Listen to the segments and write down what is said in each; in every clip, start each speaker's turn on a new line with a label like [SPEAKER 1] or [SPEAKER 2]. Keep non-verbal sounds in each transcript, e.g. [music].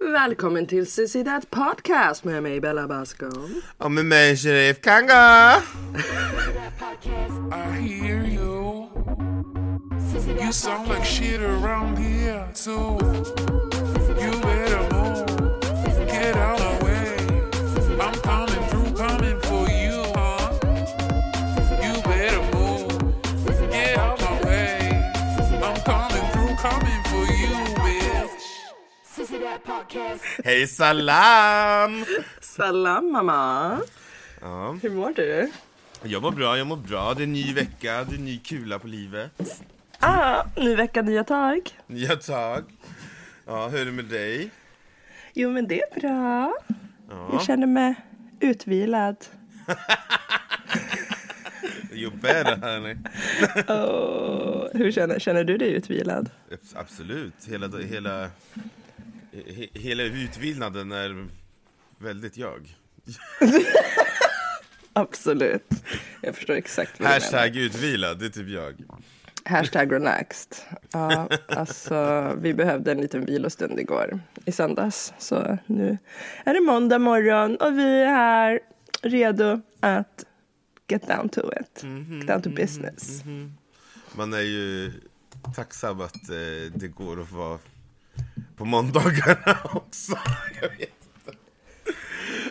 [SPEAKER 1] och välkommen till Cecidat Podcast med mig Bella Basco.
[SPEAKER 2] Och med mig Sheriff Kanga!
[SPEAKER 3] I hear you. You sound like shit around here too. You better move. Get out of the way. I'm coming through, coming for you, huh? You better move. Get out my way. I'm coming through, coming for you, bitch.
[SPEAKER 2] Hej salam!
[SPEAKER 1] Salam mamma.
[SPEAKER 2] Ja,
[SPEAKER 1] Hur mår du?
[SPEAKER 2] jag mår bra, jag mår bra. Det är ny vecka, det är ny kula på livet.
[SPEAKER 1] Ah, ny vecka, nya tag.
[SPEAKER 2] Nya tag. Ja, hur är det med dig?
[SPEAKER 1] Jo men det är bra.
[SPEAKER 2] Ja.
[SPEAKER 1] Jag känner mig utvilad.
[SPEAKER 2] You better honey.
[SPEAKER 1] Åh, Oh, hur känner, känner du dig utvilad?
[SPEAKER 2] Abs- Absolut, hela, hela, he, hela utvilnaden är väldigt jag.
[SPEAKER 1] Absolut. Jag förstår exakt vad du menar.
[SPEAKER 2] Hashtag utvilad, det är typ jag.
[SPEAKER 1] Hashtag relaxed. Ja, alltså, vi behövde en liten vilostund igår, i söndags. Så nu är det måndag morgon och vi är här redo att get down to it. Get down to business.
[SPEAKER 2] Man är ju tacksam att eh, det går att vara på måndagarna [laughs] också. Jag vet inte.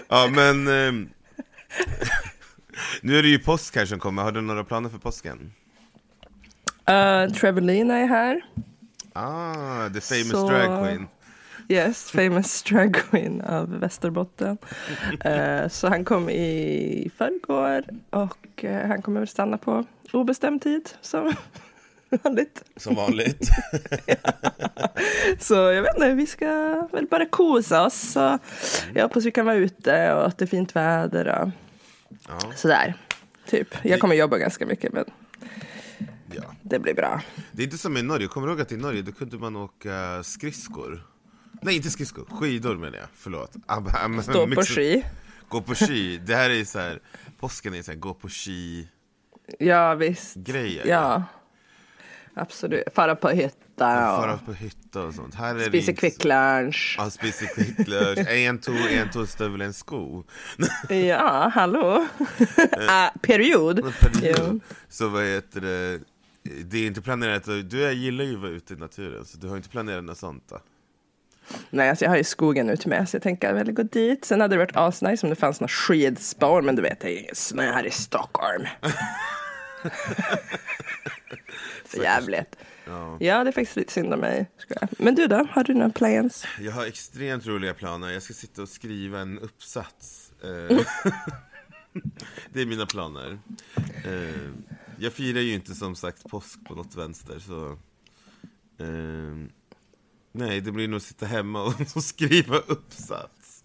[SPEAKER 2] Ja, men... Eh, [laughs] nu är det ju påsk här som kommer. Har du några planer för påsken?
[SPEAKER 1] Uh, Trevelina är här.
[SPEAKER 2] Ah, the famous
[SPEAKER 1] Så-
[SPEAKER 2] drag queen.
[SPEAKER 1] Yes, famous [laughs] drag queen av Västerbotten. Eh, så han kom i förrgår och eh, han kommer att stanna på obestämd tid som [laughs] vanligt.
[SPEAKER 2] Som vanligt.
[SPEAKER 1] Så jag vet inte, vi ska väl bara kosa oss. Så jag hoppas vi kan vara ute och att det är fint väder och
[SPEAKER 2] [laughs] Ja,
[SPEAKER 1] sådär. Typ. Jag kommer jobba ganska mycket men
[SPEAKER 2] ja.
[SPEAKER 1] det blir bra.
[SPEAKER 2] Det är inte som i Norge. Kommer du ihåg att i Norge då kunde man åka skridskor? Nej, inte skridskor. Skidor menar jag. Förlåt. Ab- am-
[SPEAKER 1] Stå på
[SPEAKER 2] mix-
[SPEAKER 1] ski.
[SPEAKER 2] Gå på ski. Det här är ju så här... Påsken är så här gå på ski...
[SPEAKER 1] Ja visst.
[SPEAKER 2] grejer.
[SPEAKER 1] Ja. Absolut. Fara på hytta
[SPEAKER 2] Fara
[SPEAKER 1] och
[SPEAKER 2] på hytta och sånt. Här är
[SPEAKER 1] spisa quick lunch.
[SPEAKER 2] Ja, spisa
[SPEAKER 1] [laughs]
[SPEAKER 2] kvicklörs. En tå, en tåstövel, en sko.
[SPEAKER 1] Ja, hallå.
[SPEAKER 2] Eh.
[SPEAKER 1] [laughs] Ah, period. [laughs] Jo.
[SPEAKER 2] Så vad heter det? Det är inte planerat. att- Du jag gillar ju att vara ute i naturen, så du har inte planerat något sånt då?
[SPEAKER 1] Nej, alltså jag har ju skogen ute med så jag tänker väl gå dit. Sen hade det varit asnice om det fanns några skidspår men du vet det är ingen snö här i
[SPEAKER 2] [laughs]
[SPEAKER 1] Stockholm. För jävligt.
[SPEAKER 2] Ja.
[SPEAKER 1] Ja, det är faktiskt lite synd om mig. ska jag. Men du då, har du några plans?
[SPEAKER 2] Jag har extremt roliga planer. Jag ska sitta och skriva en uppsats. Eh, [laughs] det är mina planer. Eh, jag firar ju inte som sagt påsk på något vänster, så... Eh, nej, det blir nog sitta hemma och, [laughs] och skriva uppsats.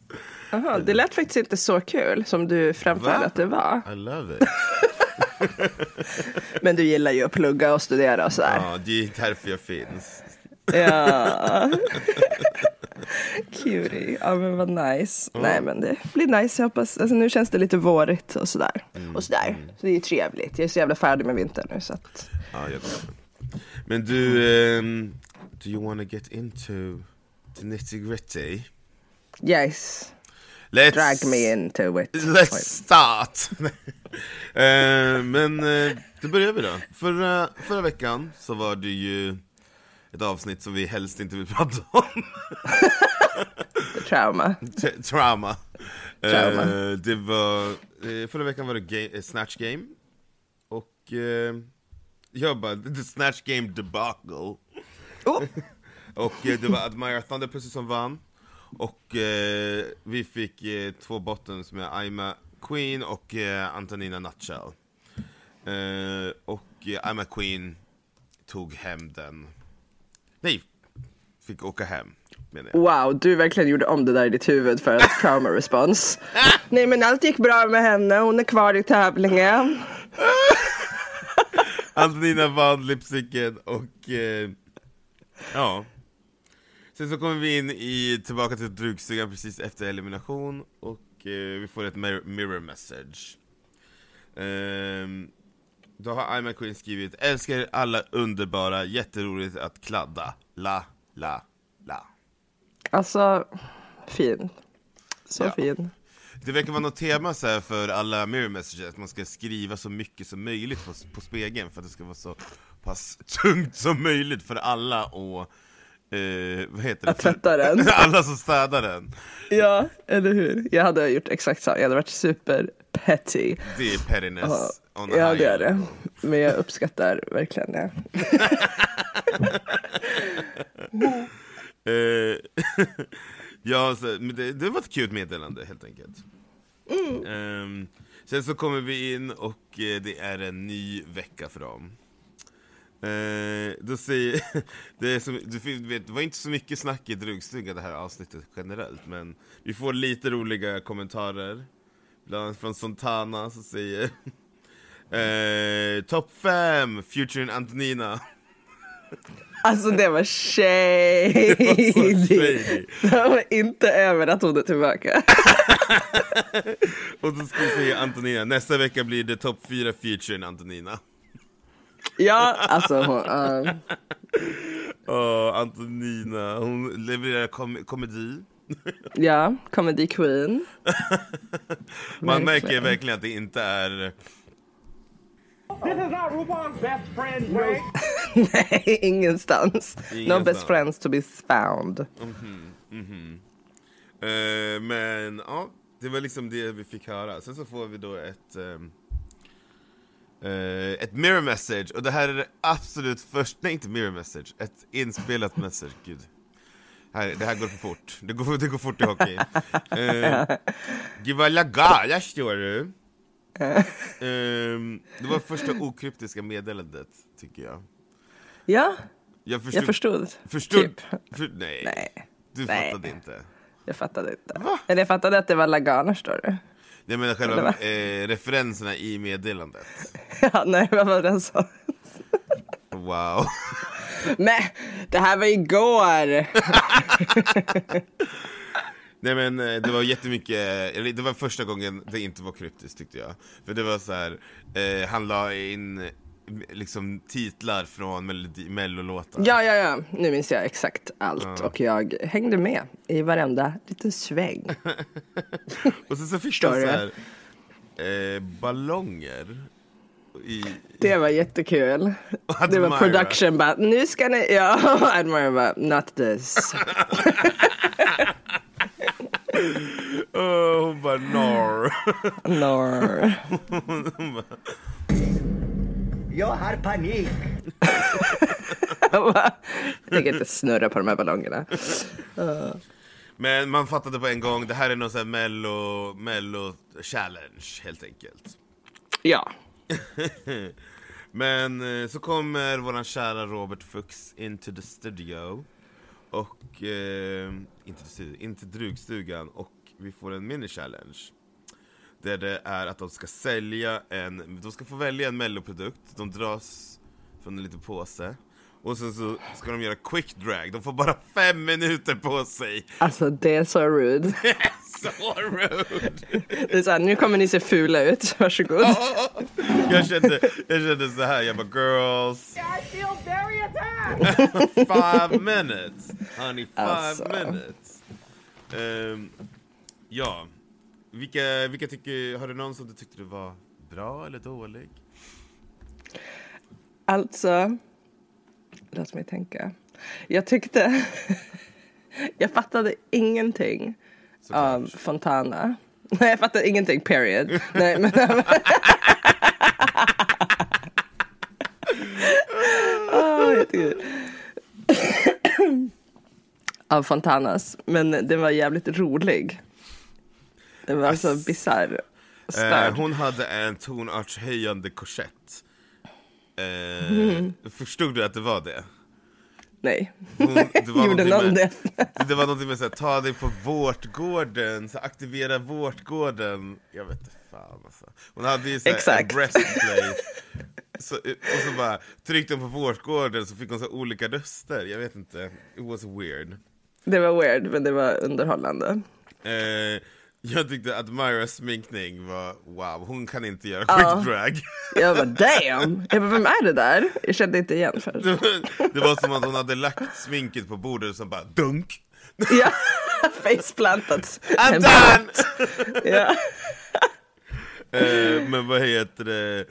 [SPEAKER 1] Aha, det lät faktiskt inte så kul som du framförde
[SPEAKER 2] Va?
[SPEAKER 1] att det var.
[SPEAKER 2] I love it.
[SPEAKER 1] Men du gillar ju att plugga och studera och sådär.
[SPEAKER 2] Ja, det är därför jag finns.
[SPEAKER 1] Ja. [laughs] Cutie. Ja men vad nice. Nej men det blir nice. Jag hoppas. Alltså, nu känns det lite vårigt och sådär.
[SPEAKER 2] Mm.
[SPEAKER 1] Och sådär. Så det är ju trevligt. Jag är så jävla färdig med vintern nu så att.
[SPEAKER 2] Ja, jag kommer. Men du, ehm, do you wanna get into the nitty gritty?
[SPEAKER 1] Yes.
[SPEAKER 2] Let's...
[SPEAKER 1] Drag me into it.
[SPEAKER 2] [laughs] Let's start! Eh, men eh, då börjar vi då. Förra, förra veckan så var det ju ett avsnitt som vi helst inte vill [laughs] prata om.
[SPEAKER 1] Trauma.
[SPEAKER 2] [laughs] Tra- Trauma. Eh,
[SPEAKER 1] Trauma.
[SPEAKER 2] det var, eh, förra veckan var det ga- eh, Snatch Game. Och eh, jag bara, the Snatch Game debacle.
[SPEAKER 1] Oh.
[SPEAKER 2] [laughs] Och eh, det var Admira Thunder precis som vann. Och eh, vi fick eh, två bottens med Aima Queen och eh, Antonina Nutshell. Eh, och eh, Aima Queen tog hem den. Nej, fick åka hem menar jag.
[SPEAKER 1] Wow, du verkligen gjorde om det där i ditt huvud för att trauma
[SPEAKER 2] [laughs]
[SPEAKER 1] response. Nej men allt gick bra med henne. Hon är kvar i tävlingen.
[SPEAKER 2] Antonina vann lipsticken och eh, ja. Sen så kommer vi in i, tillbaka till drugstugan precis efter elimination och eh, vi får ett mir- mirror message. Ehm, då har I'm a Queen skrivit Älskar er alla underbara, jätteroligt att kladda. La, la, la.
[SPEAKER 1] Alltså. Fin. Så
[SPEAKER 2] Ja.
[SPEAKER 1] fin.
[SPEAKER 2] Det verkar vara något tema så här för alla mirror messages, att man ska skriva så mycket som möjligt på, på spegeln för att det ska vara så pass tungt som möjligt för alla och eh, vad heter det?
[SPEAKER 1] Att tvätta den.
[SPEAKER 2] [laughs] alla som städar den.
[SPEAKER 1] Ja, eller hur? Jag hade gjort exakt samma. Jag hade varit super petty.
[SPEAKER 2] Det är pettiness on a
[SPEAKER 1] Ja,
[SPEAKER 2] high
[SPEAKER 1] det är
[SPEAKER 2] end.
[SPEAKER 1] det. Men jag uppskattar verkligen det.
[SPEAKER 2] Eh, [laughs] ja, så, men det, det var ett kul meddelande helt enkelt. Ehm, sen så kommer vi in och eh, det är en ny vecka för dem. Eh, då säger, [laughs] det, är som, du fin- vet, det var inte så mycket snack i Drugstugan det här avsnittet generellt men vi får lite roliga kommentarer. Bland annat från Santana som säger [laughs] eh, Topp 5, featuring Antonina.
[SPEAKER 1] Alltså det var shady.
[SPEAKER 2] Det var så shady.
[SPEAKER 1] Jag var inte över att hon är tillbaka.
[SPEAKER 2] Och då ska vi säga Antonina, nästa vecka blir det topp 4 featuring Antonina.
[SPEAKER 1] Ja, alltså hon, ja.
[SPEAKER 2] Åh, Antonina, hon levererar kom- komedi.
[SPEAKER 1] ja, comedy queen. [laughs] Verkligen.
[SPEAKER 2] Man märker verkligen att det inte är...
[SPEAKER 4] This is not RuPaul's best friend prank.
[SPEAKER 1] Nej, ingenstans. No
[SPEAKER 2] Ingenstans.
[SPEAKER 1] best friends to be found.
[SPEAKER 2] eh, men ja, det var liksom det vi fick höra. Sen så får vi då ett... ehm, eh, ett mirror message, och det här är det absolut första, nej inte mirror message, ett inspelat message, gud. Här, det här går för fort, det går, det går fort i hockey. Eh, Gud vad lagala står du. Ehm, det var första okryptiska meddelandet, tycker jag.
[SPEAKER 1] Ja,
[SPEAKER 2] Jag förstod.
[SPEAKER 1] jag förstod.
[SPEAKER 2] förstod
[SPEAKER 1] Typ.
[SPEAKER 2] för, nej,
[SPEAKER 1] Nej,
[SPEAKER 2] du
[SPEAKER 1] nej.
[SPEAKER 2] fattade inte.
[SPEAKER 1] jag fattade inte. Eller jag fattade att det var Lagana, står det.
[SPEAKER 2] Jag menar
[SPEAKER 1] Eller
[SPEAKER 2] själva
[SPEAKER 1] va?
[SPEAKER 2] eh, referenserna i meddelandet.
[SPEAKER 1] [laughs] Ja, nej, vad var det jag sa?
[SPEAKER 2] Wow. [laughs]
[SPEAKER 1] Men det här var igår.
[SPEAKER 2] Nej men eh, det var jättemycket, eller det var första gången det inte var kryptiskt tyckte jag. För det var så här, eh, han la in eh, liksom titlar från melodi, mellolåtar.
[SPEAKER 1] Ja, ja, ja. Nu minns jag exakt allt och jag hängde med i varenda liten sväng.
[SPEAKER 2] Och sen så fick
[SPEAKER 1] Förstår
[SPEAKER 2] han så
[SPEAKER 1] du?
[SPEAKER 2] här, eh, ballonger. I,
[SPEAKER 1] Det var jättekul.
[SPEAKER 2] Och
[SPEAKER 1] Det
[SPEAKER 2] Admira.
[SPEAKER 1] var production bara, nu ska ni, ja, [laughs] och Admira bara, not this.
[SPEAKER 2] Åh, hon bara nar.
[SPEAKER 1] Nor. [laughs]
[SPEAKER 5] Jag har panik.
[SPEAKER 1] Jag bara, jag tänker inte snurra på de här ballongerna.
[SPEAKER 2] [laughs] Men man fattade på en gång, det här är någon sån här mello, mello challenge helt enkelt.
[SPEAKER 1] Ja,
[SPEAKER 2] Men eh, så kommer våran kära Robert Fuchs into the studio och eh, inte till studio, inte till drugstugan och vi får en mini challenge. Där det är att de ska sälja en, de ska få välja en melloprodukt, de dras från en liten påse och sen så ska de göra quick drag, de får bara fem minuter på sig. [laughs]
[SPEAKER 1] alltså det är så rude.
[SPEAKER 2] Så rude!
[SPEAKER 1] Det är så här, nu kommer ni se fula ut, varsågod.
[SPEAKER 2] Jag kände, jag kände så här, jag bara girls,
[SPEAKER 4] I feel very attacked.
[SPEAKER 2] five minutes! Honey, five
[SPEAKER 1] Alltså.
[SPEAKER 2] minutes! Ehm, ja, vilka, vilka tycker, har du någon som du tyckte det var bra eller dålig?
[SPEAKER 1] Alltså, låt mig tänka. Jag tyckte, [laughs] jag fattade ingenting av Fontana. Nej, jag fattade ingenting, period. Nej, men, [laughs] Åh, Ah, jag tycker- [coughs] av Fontanas, men den var jävligt rolig. Den var så bisarr. och
[SPEAKER 2] Eh,
[SPEAKER 1] Störd.
[SPEAKER 2] hon hade en tonartshöjande korsett. Eh, Förstod du att det var det?
[SPEAKER 1] Nej.
[SPEAKER 2] Hon, det var
[SPEAKER 1] [laughs] Gjorde
[SPEAKER 2] någonting
[SPEAKER 1] någon
[SPEAKER 2] med,
[SPEAKER 1] det?
[SPEAKER 2] det var någonting med såhär, ta dig på vårtgården, så aktivera vårtgården. Jag vet inte fan alltså. Hon hade ju såhär en
[SPEAKER 1] Exakt.
[SPEAKER 2] breastplate. Så, och så bara tryckte hon på vårtgården så fick hon så här olika röster. Jag vet inte, it was weird.
[SPEAKER 1] Det var weird, men det var underhållande.
[SPEAKER 2] Eh, jag tyckte att Myras sminkning var wow, hon kan inte göra quick drag. [laughs]
[SPEAKER 1] Jag bara damn! Jag bara, vem är det där? Jag kände inte igen
[SPEAKER 2] [laughs]
[SPEAKER 1] först. [laughs]
[SPEAKER 2] Det var som att hon hade lagt sminket på bordet och så bara dunk.
[SPEAKER 1] Ja. Faceplantat.
[SPEAKER 2] I'm done!
[SPEAKER 1] Ja.
[SPEAKER 2] Eh, men vad heter det?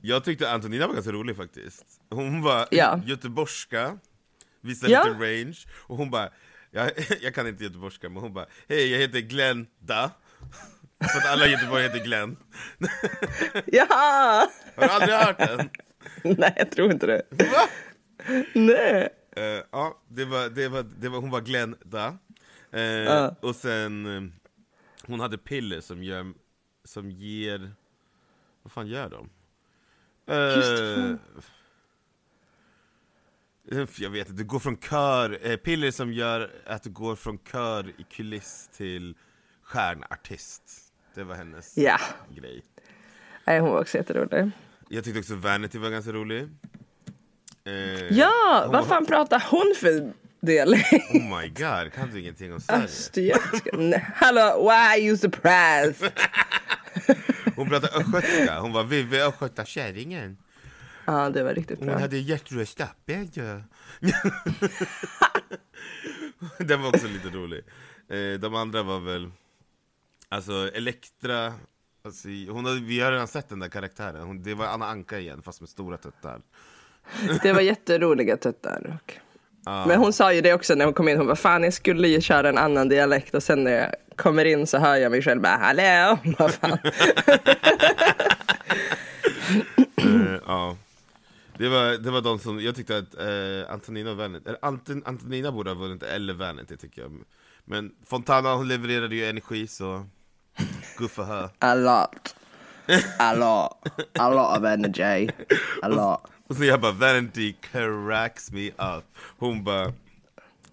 [SPEAKER 2] Jag tyckte Antonina var ganska rolig faktiskt. Hon var
[SPEAKER 1] Ja.
[SPEAKER 2] göteborgska, visade
[SPEAKER 1] Ja.
[SPEAKER 2] lite range, och hon bara, jag, [laughs] jag kan inte göteborgska, men hon bara, hej jag heter Glenda. [laughs] För att alla i Göteborg heter Glenn.
[SPEAKER 1] ja.
[SPEAKER 2] Har du aldrig
[SPEAKER 1] [laughs]
[SPEAKER 2] hört den?
[SPEAKER 1] Nej, jag tror inte det.
[SPEAKER 2] Va?
[SPEAKER 1] Nej.
[SPEAKER 2] Eh, ja, det var, det var, det var, hon var Glenda. Eh, Och sen, eh, hon hade piller som, gör, som ger... Vad fan gör de? Eh, f- jag vet inte, du går från kör, eh, piller som gör att du går från kör i kuliss till stjärnartist. Det var hennes
[SPEAKER 1] Ja.
[SPEAKER 2] grej.
[SPEAKER 1] Nej, hon var också jätterolig.
[SPEAKER 2] Jag tyckte också Vanity var ganska rolig. Eh,
[SPEAKER 1] Ja,
[SPEAKER 2] hon
[SPEAKER 1] vad
[SPEAKER 2] var-
[SPEAKER 1] fan pratar hon för dialekt?
[SPEAKER 2] Oh my god, kan du ingenting om Sverige?
[SPEAKER 1] Östergötska? Nej, Hallå, why are you surprised?
[SPEAKER 2] Hon pratade östgötska, hon var Vivi östgötakärringen.
[SPEAKER 1] Ja, det var riktigt
[SPEAKER 2] Hon
[SPEAKER 1] bra.
[SPEAKER 2] hade hjärtrösta, ja. [laughs] Den var också lite rolig. Eh, De andra var väl, alltså Elektra, alltså, hon hade, vi har redan sett den där karaktären, hon, det var Anna Anka igen fast med stora tuttar.
[SPEAKER 1] Det var jätteroliga tuttar. Och... Men hon sa ju det också när hon kom in. Hon bara, fan jag skulle ju köra en annan dialekt och sen när jag kommer in så hör jag mig själv bara, hallå. Vad fan.
[SPEAKER 2] Eh, Ja. Det var, det var de som, jag tyckte att eh, Antonina och Vanity, eller Anton, Antonina borde ha vunnit, eller Vanity tycker jag. Men Fontana hon levererade ju energi så, good for her.
[SPEAKER 1] A lot. A lot. A lot of energy. A lot.
[SPEAKER 2] Och så jag bara Vanity cracks me up Hon bara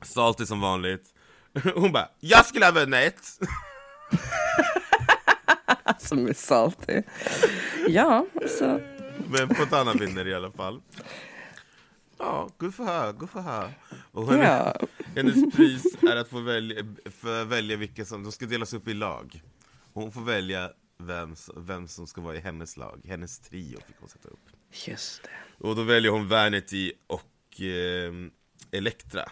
[SPEAKER 2] Salty som vanligt [laughs] Hon bara Jag skulle ha vunnit!
[SPEAKER 1] Som är salty. Ja, så.
[SPEAKER 2] [laughs] Men Fontana vinner i alla fall Ja, good for her, good for her Och hon,
[SPEAKER 1] Ja.
[SPEAKER 2] hennes pris är att få välja, få välja vilka som, de ska delas upp i lag Hon får välja vem, s- vem som ska vara i hennes lag, hennes trio fick hon sätta upp
[SPEAKER 1] Just det.
[SPEAKER 2] Och då väljer hon Vanity och eh, Elektra.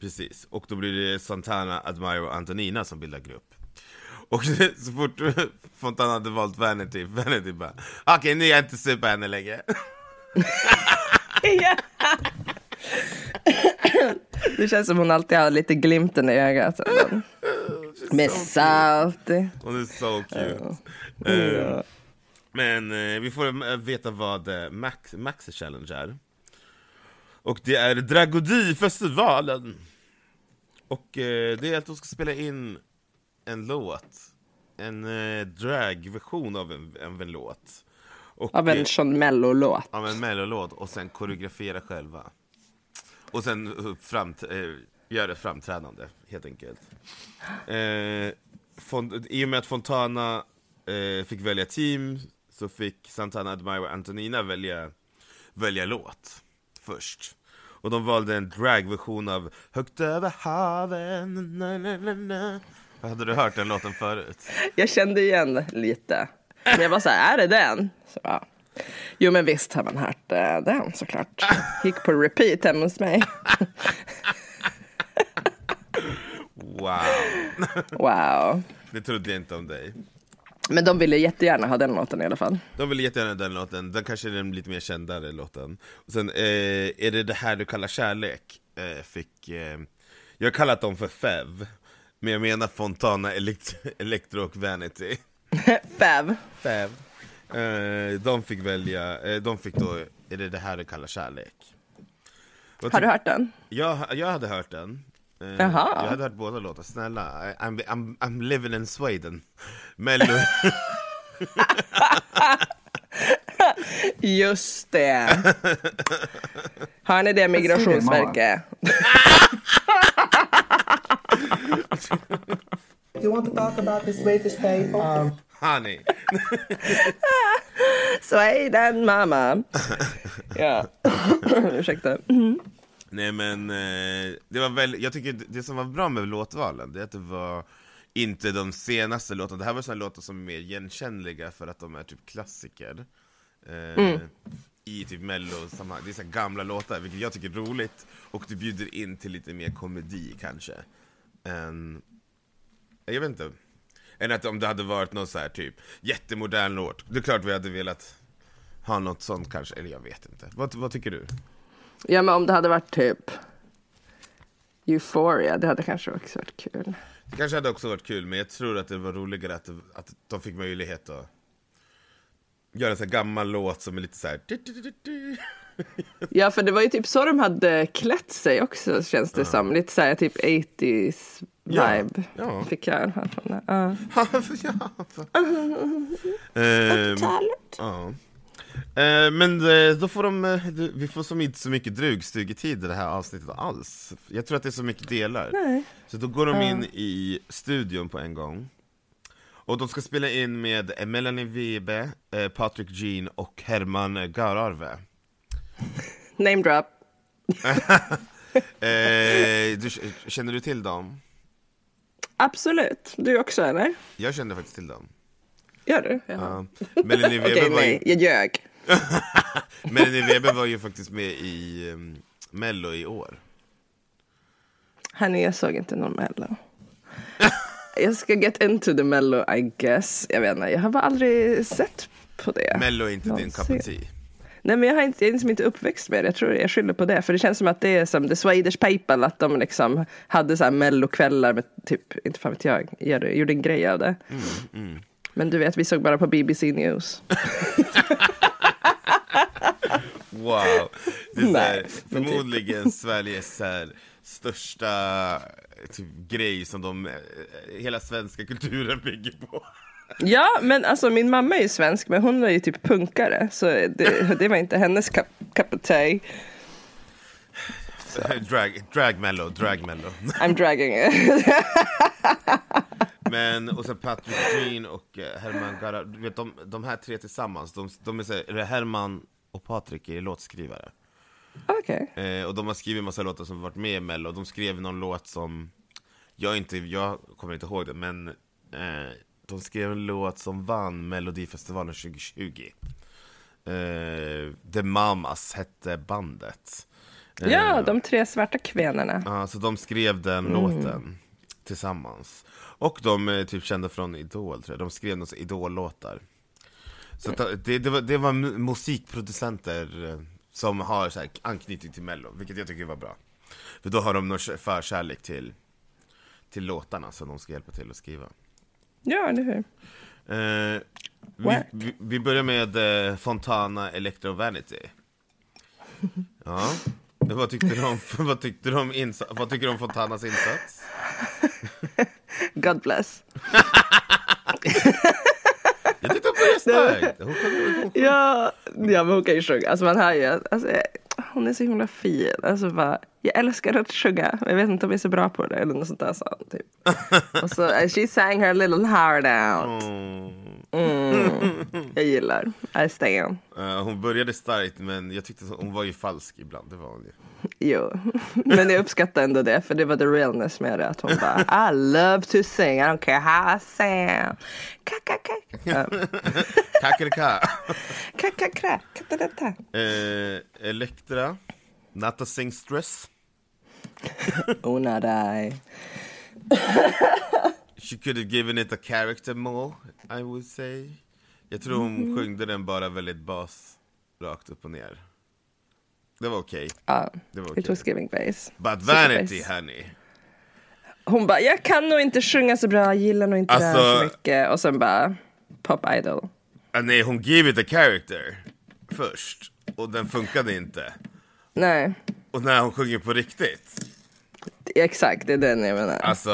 [SPEAKER 2] Precis, och då blir det Santana, Admire och Antonina som bildar grupp. Och [laughs] så fort Fontana hade valt Vanity, Vanity bara Okej, nu är jag inte sur på henne längre. [laughs]
[SPEAKER 1] Ja. Det känns som hon alltid har lite glimten i ögat. Med salty.
[SPEAKER 2] Hon är så cute. Eh,
[SPEAKER 1] Ja.
[SPEAKER 2] Men eh, vi får eh, veta vad eh, Max, Maxi Challenge är. Och det är Dragodifestivalen! Och eh, det är att de ska spela in en låt. En eh, dragversion av en, av en låt. Och,
[SPEAKER 1] Av
[SPEAKER 2] eh,
[SPEAKER 1] en Sean Mello-låt.
[SPEAKER 2] av en mellolåt och sen koreografera själva. Och sen eh, framt, eh, göra ett framträdande, helt enkelt. Eh, fon, I och med att Fontana eh, fick välja team så fick Santana, Admire och Antonina välja, välja låt först. Och de valde en dragversion av Högt över haven na, na, na, na. Hade du hört den låten förut?
[SPEAKER 1] Jag kände igen lite. Men jag var så här, är det den? Så, ja. Jo men visst har man hört eh, den såklart. Gick på repeat hemma hos mig.
[SPEAKER 2] Wow!
[SPEAKER 1] Wow.
[SPEAKER 2] Det trodde jag inte om dig.
[SPEAKER 1] Men de ville jättegärna ha den låten i alla fall.
[SPEAKER 2] De vill jättegärna den låten, den kanske är den lite mer kändare låten och Sen, eh, är det det här du kallar kärlek? Eh, fick, eh, jag har kallat dem för FEV Men jag menar Fontana, Elekt- Electro och Vanity
[SPEAKER 1] Fev.
[SPEAKER 2] FEV eh, De fick välja, eh, de fick då, är det det här du kallar kärlek? Vad
[SPEAKER 1] Har du
[SPEAKER 2] tyck-
[SPEAKER 1] hört den?
[SPEAKER 2] Jag, jag hade hört den Eh,
[SPEAKER 1] Jaha.
[SPEAKER 2] Jag hade hört båda låtar, snälla, I- I'm, I'm, I'm living in Sweden Mello [laughs]
[SPEAKER 1] Just [laughs] det. Hör ni det Migrationsverket?
[SPEAKER 6] You want to talk about this latest paper?
[SPEAKER 5] Um,
[SPEAKER 2] Honey
[SPEAKER 1] Sweden mamma. Ja. [laughs] Ursäkta.
[SPEAKER 2] Nej men, eh, det var väl, jag tycker det- det som var bra med låtvalen, det är att det var inte de senaste låtarna, det här var sådana låtar som är mer igenkännliga för att de är typ klassiker eh, I typ mellosammanhang, det är så här gamla låtar, vilket jag tycker är roligt, och det bjuder in till lite mer komedi kanske än... Jag vet inte. Än att om det hade varit någon så här typ jättemodern låt. Det är klart vi hade velat ha något sånt kanske, eller jag vet inte. Vad, vad tycker du?
[SPEAKER 1] Ja, men om det hade varit typ Euphoria, det hade kanske också varit kul.
[SPEAKER 2] Det kanske hade också varit kul, men jag tror att det var roligare att, att de fick möjlighet att göra en sån här gammal låt som är lite så här...
[SPEAKER 1] Ja, för det var ju typ så de hade klätt sig också, känns det som. Lite så här typ 80s
[SPEAKER 2] Ja,
[SPEAKER 1] vibe
[SPEAKER 2] ja. Mm.
[SPEAKER 1] fick jag i alla fall från det. Ja.
[SPEAKER 2] Ehm, ja. Eh, Men eh, då får de, eh, du- vi får som inte så mycket drugstugetid i det här avsnittet alls. Jag tror att det är så mycket delar.
[SPEAKER 1] Nej.
[SPEAKER 2] Så då går de in i studion på en gång. Och de ska spela in med eh, Melanie Webe, eh, Patrick Jean och Herman Gararve.
[SPEAKER 1] Name drop.
[SPEAKER 2] Eh, du, känner du till dem?
[SPEAKER 1] Absolut. Du också, eller?
[SPEAKER 2] Jag kände faktiskt till dem.
[SPEAKER 1] Gör du? Ja.
[SPEAKER 2] Ja. Melanie Weber
[SPEAKER 1] [laughs] Okej,
[SPEAKER 2] var ju-
[SPEAKER 1] nej, jag ljög.
[SPEAKER 2] Melanie Weber var ju faktiskt med i um, Mello i år.
[SPEAKER 1] Honey, jag såg inte någon
[SPEAKER 2] [laughs]
[SPEAKER 1] Mello. jag ska get into the Mello, I guess. Jag vet inte, jag har bara aldrig sett på det.
[SPEAKER 2] Mello är inte din cup of tea.
[SPEAKER 1] Nej, men jag, har inte, jag är liksom inte uppväxt med det. Jag tror jag skyller på det. För det känns som att det är som The Swedish People, att de liksom hade så här mellokvällar med typ, inte fan vet jag, gjorde, gjorde en grej av det.
[SPEAKER 2] Mm,
[SPEAKER 1] Men du vet, vi såg bara på BBC News.
[SPEAKER 2] Wow! Det är så
[SPEAKER 1] Nej,
[SPEAKER 2] här,
[SPEAKER 1] men typ. [laughs]
[SPEAKER 2] förmodligen Sveriges så här, största eh, typ, grej som de, eh, hela svenska kulturen bygger
[SPEAKER 1] [laughs]
[SPEAKER 2] på.
[SPEAKER 1] ja, men alltså min mamma är ju svensk, men hon är ju typ punkare. Så det, det var inte hennes cup, cup of tea.
[SPEAKER 2] Drag, drag mello, drag mello.
[SPEAKER 1] I'm dragging it. [laughs]
[SPEAKER 2] Men, och sen Patrick Jean och eh, Herman Gara, du vet de, de här tre tillsammans, de, de är så här, eller Herman och Patrik är låtskrivare.
[SPEAKER 1] Okej.
[SPEAKER 2] Eh, och de har skrivit en massa låtar som varit med i Mello, de skrev någon låt som Jag, inte, jag kommer inte ihåg det, men eh, De skrev en låt som vann Melodifestivalen 2020 eh, The Mamas hette bandet Eh,
[SPEAKER 1] Ja, de tre svarta kvinnorna.
[SPEAKER 2] ja, Så de skrev den låten tillsammans Och de är typ kända från Idol tror jag, de skrev några Idol-låtar Så att eh, det, det, var, det var mu- musikproducenter eh, som har så här anknytning till mello, vilket jag tycker var bra För då har de någon förkärlek till, till låtarna som de ska hjälpa till att skriva
[SPEAKER 1] Ja, eller hur?
[SPEAKER 2] Eh, vi,
[SPEAKER 1] Whack.
[SPEAKER 2] vi, vi börjar med eh, Fontana Electro Vanity. Ja. Vad tyckte du om, [laughs] vad tyckte du om, insa- vad tycker du om Fontanas insats?
[SPEAKER 1] God bless.
[SPEAKER 2] Jag tyckte hon började starkt. Hon kom- hon-
[SPEAKER 1] Ja, ja men hon kan ju sjunga. Alltså man hör ju. att- Alltså, jag- hon är så himla fin. Alltså bara, jag älskar att sjunga. Men jag vet inte om jag är så bra på det. Eller något sånt där sa han typ. Och så, and she sang her little heart
[SPEAKER 2] Mm.
[SPEAKER 1] out.
[SPEAKER 2] hon-
[SPEAKER 1] Jag gillar. I stay on.
[SPEAKER 2] eh, Hon började starkt men jag tyckte hon var ju falsk ibland, det var hon ju. [laughs]
[SPEAKER 1] Jo. Men jag uppskattar ändå det. För det var the realness med det. Att hon bara, I love to sing. I don't care how I sing. Kakakrä.
[SPEAKER 2] Kackelika.
[SPEAKER 1] Kakakrä. Katalata.
[SPEAKER 2] Eh, Elektra, Natta Singstress.
[SPEAKER 1] Una dig.
[SPEAKER 2] She could have given it a character more, I would say. Jag tror hon sjungde den bara väldigt bas, rakt upp och ner. Det var okej.
[SPEAKER 1] Ja,
[SPEAKER 2] Det var
[SPEAKER 1] it
[SPEAKER 2] okej.
[SPEAKER 1] was giving base.
[SPEAKER 2] But vanity,
[SPEAKER 1] Superbase.
[SPEAKER 2] honey.
[SPEAKER 1] Hon bara, jag kan nog inte sjunga så bra, jag gillar nog inte det här så
[SPEAKER 2] Alltså-
[SPEAKER 1] mycket. Och sen bara, Pop Idol.
[SPEAKER 2] Ah, nej, hon gave it a character först. Och den funkade inte.
[SPEAKER 1] Nej,
[SPEAKER 2] Och när hon sjunger på riktigt.
[SPEAKER 1] exakt, det är den jag menar.
[SPEAKER 2] Alltså...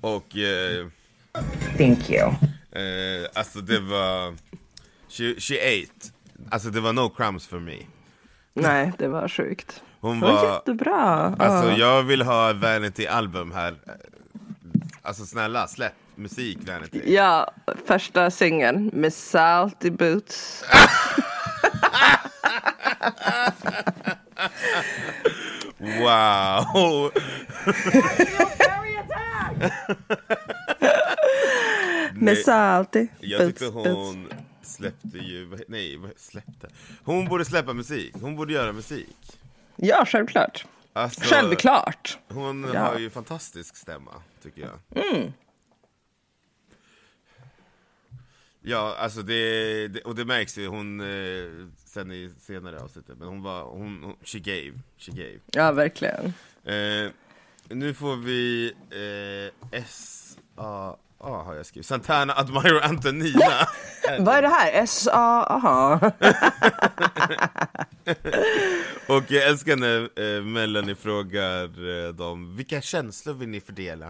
[SPEAKER 2] Och... Eh,
[SPEAKER 7] Uh. Thank you.
[SPEAKER 2] eh, alltså det var... She, she ate. Alltså det var no crumbs for me.
[SPEAKER 1] Nej, det var sjukt.
[SPEAKER 2] Hon
[SPEAKER 1] Det var
[SPEAKER 2] var...
[SPEAKER 1] jättebra. Ja.
[SPEAKER 7] Uh.
[SPEAKER 2] Alltså jag vill ha Vanity album här Alltså snälla släpp musik Vanity
[SPEAKER 1] Ja, första singeln med Salty Boots.
[SPEAKER 2] Wow!
[SPEAKER 1] Med Salty
[SPEAKER 2] Jag tyckte
[SPEAKER 1] Boots, Boots.
[SPEAKER 2] hon släppte ju, vad he- nej vad he- släppte? Hon borde släppa musik, hon borde göra musik
[SPEAKER 1] Ja, självklart.
[SPEAKER 2] Alltså,
[SPEAKER 1] Självklart.
[SPEAKER 2] Hon
[SPEAKER 1] Ja.
[SPEAKER 2] har ju fantastisk stämma, tycker jag. Ja, alltså det, det, och det märks ju, hon, eh, sen i senare avsnittet, men hon var, hon, hon she gave, she gave.
[SPEAKER 1] Ja, verkligen.
[SPEAKER 2] Eh, nu får vi eh, S-A-A har jag skrivit, Santana Admiro Antonina. [laughs]
[SPEAKER 1] Vad är det här? S-A... Aha.
[SPEAKER 2] och jag älskar när eh, Melanie frågar eh, dem, vilka känslor vill ni fördela?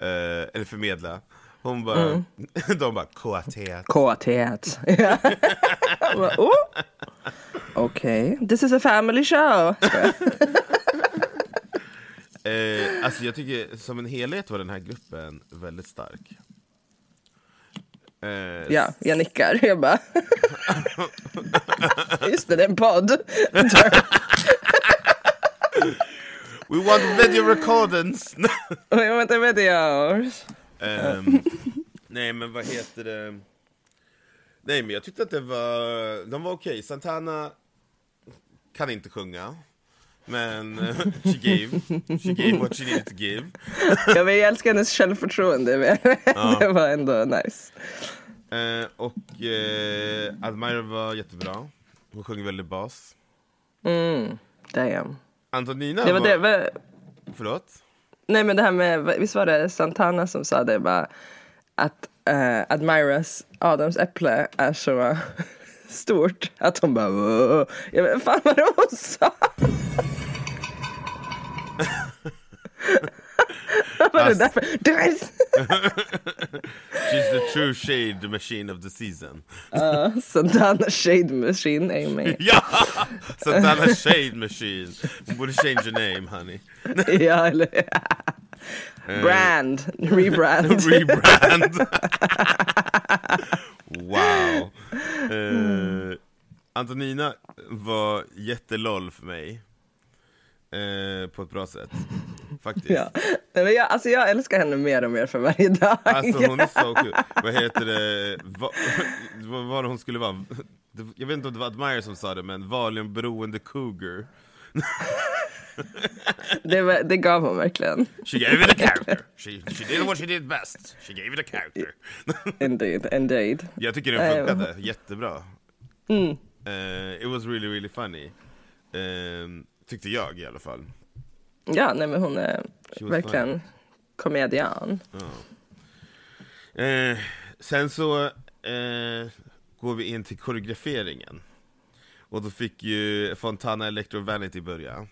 [SPEAKER 2] Eh, eller förmedla? Hon bara, [laughs] de bara kåthet.
[SPEAKER 1] Kåthet.
[SPEAKER 2] [laughs]
[SPEAKER 1] Ja. Bara, oh. Okej. This is a family show.
[SPEAKER 2] Eh, alltså jag tycker som en helhet var den här gruppen väldigt stark. Eh,
[SPEAKER 1] Ja, jag nickar. Jag bara... [laughs] Just det, det är en podd.
[SPEAKER 2] We want video recordings!
[SPEAKER 1] Vänta, vänta, jag... [laughs]
[SPEAKER 2] Ehm, nej men vad heter det? Nej men jag tyckte att det var, de var okej. Santana kan inte sjunga. Men [laughs] eh, she gave, she gave what she needed to give.
[SPEAKER 1] Ja, men jag älskar hennes självförtroende. [laughs] men Det var ändå nice.
[SPEAKER 2] Eh, och eh, Admira var jättebra. Hon sjöng väldigt bas.
[SPEAKER 1] Damn.
[SPEAKER 2] Antonina
[SPEAKER 1] Det var det. va-
[SPEAKER 2] Förlåt?
[SPEAKER 1] Nej, men det här med... Visst var det Santana som sa det bara att eh, Admiras Adams äpple är så [laughs] stort att hon bara... "Åh." Jag vet fan vad det var hon sa. [laughs] Var det
[SPEAKER 2] Fast-
[SPEAKER 1] därför? Du vet!
[SPEAKER 2] She's the true shade machine of the season.
[SPEAKER 1] [laughs] Santana Shade Machine, Amy.
[SPEAKER 2] [laughs] Ja! Santana shade machine. Hon borde change her name honey.
[SPEAKER 1] Ja, eller...
[SPEAKER 2] Eh.
[SPEAKER 1] Brand. [laughs]
[SPEAKER 2] [laughs]
[SPEAKER 1] Rebrand.
[SPEAKER 2] Rebrand. [laughs] wow. Eh, Antonina var jätteloll för mig. Eh, på ett bra sätt. Faktiskt.
[SPEAKER 1] Ja. Nej, men jag, alltså jag älskar henne mer och mer för varje dag.
[SPEAKER 2] Alltså hon är så kul. Vad heter det? Va, [laughs] vad var det hon skulle vara? Det- Jag vet inte om det var Admire som sa det, men valiumberoende cougar.
[SPEAKER 1] [laughs] det, var- det gav hon verkligen.
[SPEAKER 2] She gave it a character. She, she did what she did best. She gave it a character. [laughs]
[SPEAKER 1] Indeed, indeed.
[SPEAKER 2] Jag tycker den funkade jättebra. Eh, it was really really funny. Eh, tyckte jag i alla fall.
[SPEAKER 1] Ja, nej men hon är
[SPEAKER 2] She was
[SPEAKER 1] verkligen
[SPEAKER 2] funny.
[SPEAKER 1] komedian.
[SPEAKER 2] Eh, sen så eh, går vi in till koreograferingen. Och då fick ju Fontana Electro Vanity börja.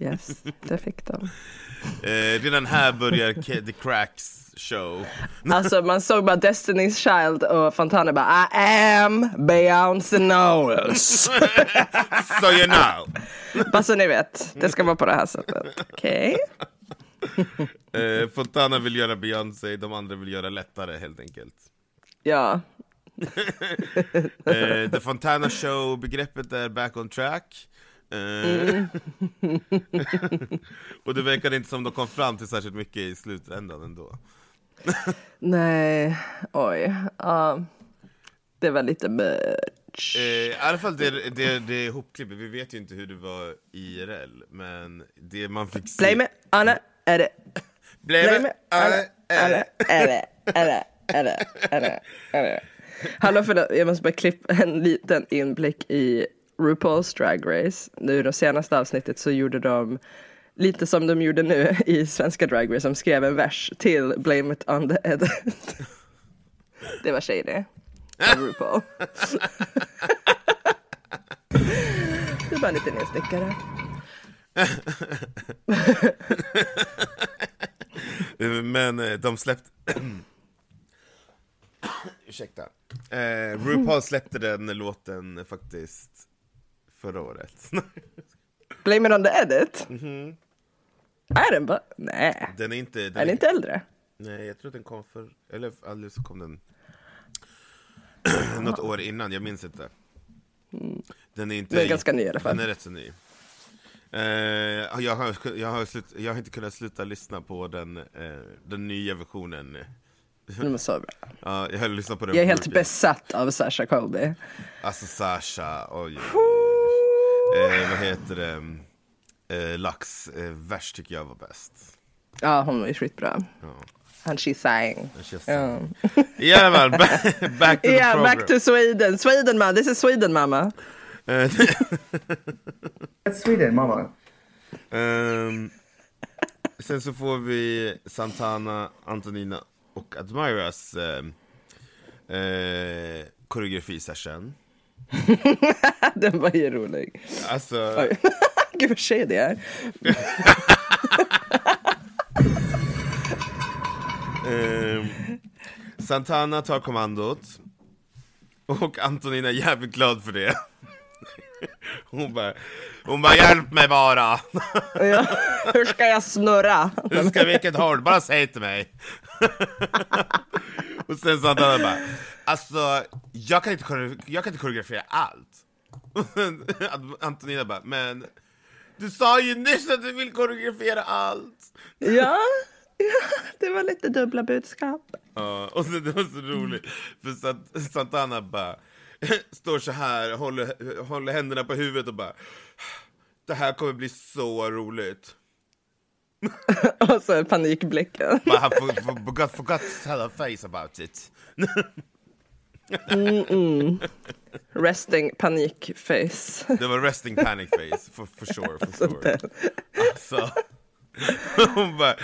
[SPEAKER 1] Yes, det fick
[SPEAKER 2] [laughs]
[SPEAKER 1] de.
[SPEAKER 2] Eh, redan här börjar Ke- The Cracks show.
[SPEAKER 1] Alltså man såg bara Destiny's Child och Fontana bara I am Beyoncé
[SPEAKER 2] [laughs]
[SPEAKER 1] Knowles.
[SPEAKER 2] So you know!
[SPEAKER 1] bara så ni vet, det ska vara på det här sättet. Okej.
[SPEAKER 2] Eh, Fontana vill göra Beyoncé, de andra vill göra lättare helt enkelt.
[SPEAKER 1] Ja,
[SPEAKER 2] Eh, The Fontana Show, begreppet är back on track. Eh, [laughs] och det verkar inte som de kom fram till särskilt mycket i slutändan ändå.
[SPEAKER 1] nej, oj. Ja. det var lite bitch.
[SPEAKER 2] Eh, I alla fall det, det, det är ihopklippet, vi vet ju inte hur det var IRL, men det man fick se...
[SPEAKER 1] Blame it, Anna, är det?
[SPEAKER 2] Blame
[SPEAKER 1] Blame it,
[SPEAKER 2] it! Alla,
[SPEAKER 1] Eller,
[SPEAKER 2] alla.
[SPEAKER 1] eller, eller, eller, eller, eller. Hallå förlåt, jag måste bara klippa en liten inblick i RuPaul's Drag Race. Nu i det senaste avsnittet så gjorde de lite som de gjorde nu i svenska Drag Race. De skrev en vers till Blame It On The Ed. Det var shady. Av RuPaul. Det är bara en liten instickare.
[SPEAKER 2] Eh, Men eh, de släppte... [coughs] Ursäkta. Eh, RuPaul släppte den låten eh, faktiskt förra året. [laughs]
[SPEAKER 1] Blame It On The Edit? Är den bara... Nej.
[SPEAKER 2] den är inte... Den
[SPEAKER 1] Är den inte äldre?
[SPEAKER 2] Nej, jag tror att den kom för... Eller alldeles så
[SPEAKER 1] [clears throat]
[SPEAKER 2] kom den något år innan, jag minns inte. Den är inte...
[SPEAKER 1] Mm. Den är ganska ny i alla fall.
[SPEAKER 2] Den är rätt så ny. Eh, jag, har, jag, har slut, jag har inte kunnat sluta lyssna på den, eh, den nya versionen.
[SPEAKER 1] Den var så bra.
[SPEAKER 2] Ja, jag har lyssnat på den
[SPEAKER 1] Jag är
[SPEAKER 2] på
[SPEAKER 1] helt
[SPEAKER 2] repeat.
[SPEAKER 1] besatt av Sasha Colby.
[SPEAKER 2] Alltså Sasha, oj. eh, vad heter det, eh, Lax eh, vers tycker jag var bäst.
[SPEAKER 1] Ja, hon var ju skitbra. And she sang.
[SPEAKER 2] Det känns som- I alla fall, back,
[SPEAKER 1] [laughs]
[SPEAKER 2] back to the
[SPEAKER 1] Yeah,
[SPEAKER 2] program.
[SPEAKER 1] back to Sweden. Sweden, man. This is Sweden, mamma. [laughs]
[SPEAKER 2] Eh, [laughs]
[SPEAKER 5] That's Sweden, mamma.
[SPEAKER 2] Ehm, sen så får vi Santana, Antonina och Admiras ehm, eh, koreografi-session.
[SPEAKER 1] Den var ju rolig. [laughs]
[SPEAKER 2] Alltså,
[SPEAKER 1] Gud, vad tjej det är.
[SPEAKER 2] ehm, Santana tar kommandot. Och Antonina är jävligt glad för det. [laughs] Hon bara, hon bara hjälp mig bara!
[SPEAKER 1] Ja. Hur ska jag [laughs] snurra? [laughs]
[SPEAKER 2] Hur ska vilket håll? Bara säg till mig! och sen sa han bara, alltså jag kan inte, kore- jag kan inte koreografera allt. [laughs] Ad- Antonina bara, men du sa ju nyss att du vill koreografera allt!
[SPEAKER 1] Ja. ja, det var lite dubbla budskap. [laughs]
[SPEAKER 2] Ja, och sen, det var så roligt, för Sant- Santana bara [laughs] står så här, håller, håller händerna på huvudet och bara det här kommer bli så roligt.
[SPEAKER 1] Och så panikblicken.
[SPEAKER 2] But I for- for- forgot, forgot to tell her face about it.
[SPEAKER 1] Resting panikface.
[SPEAKER 2] Det var resting panic face, for, for sure. For sure.
[SPEAKER 1] Den-
[SPEAKER 2] Så. [laughs] Hon bara,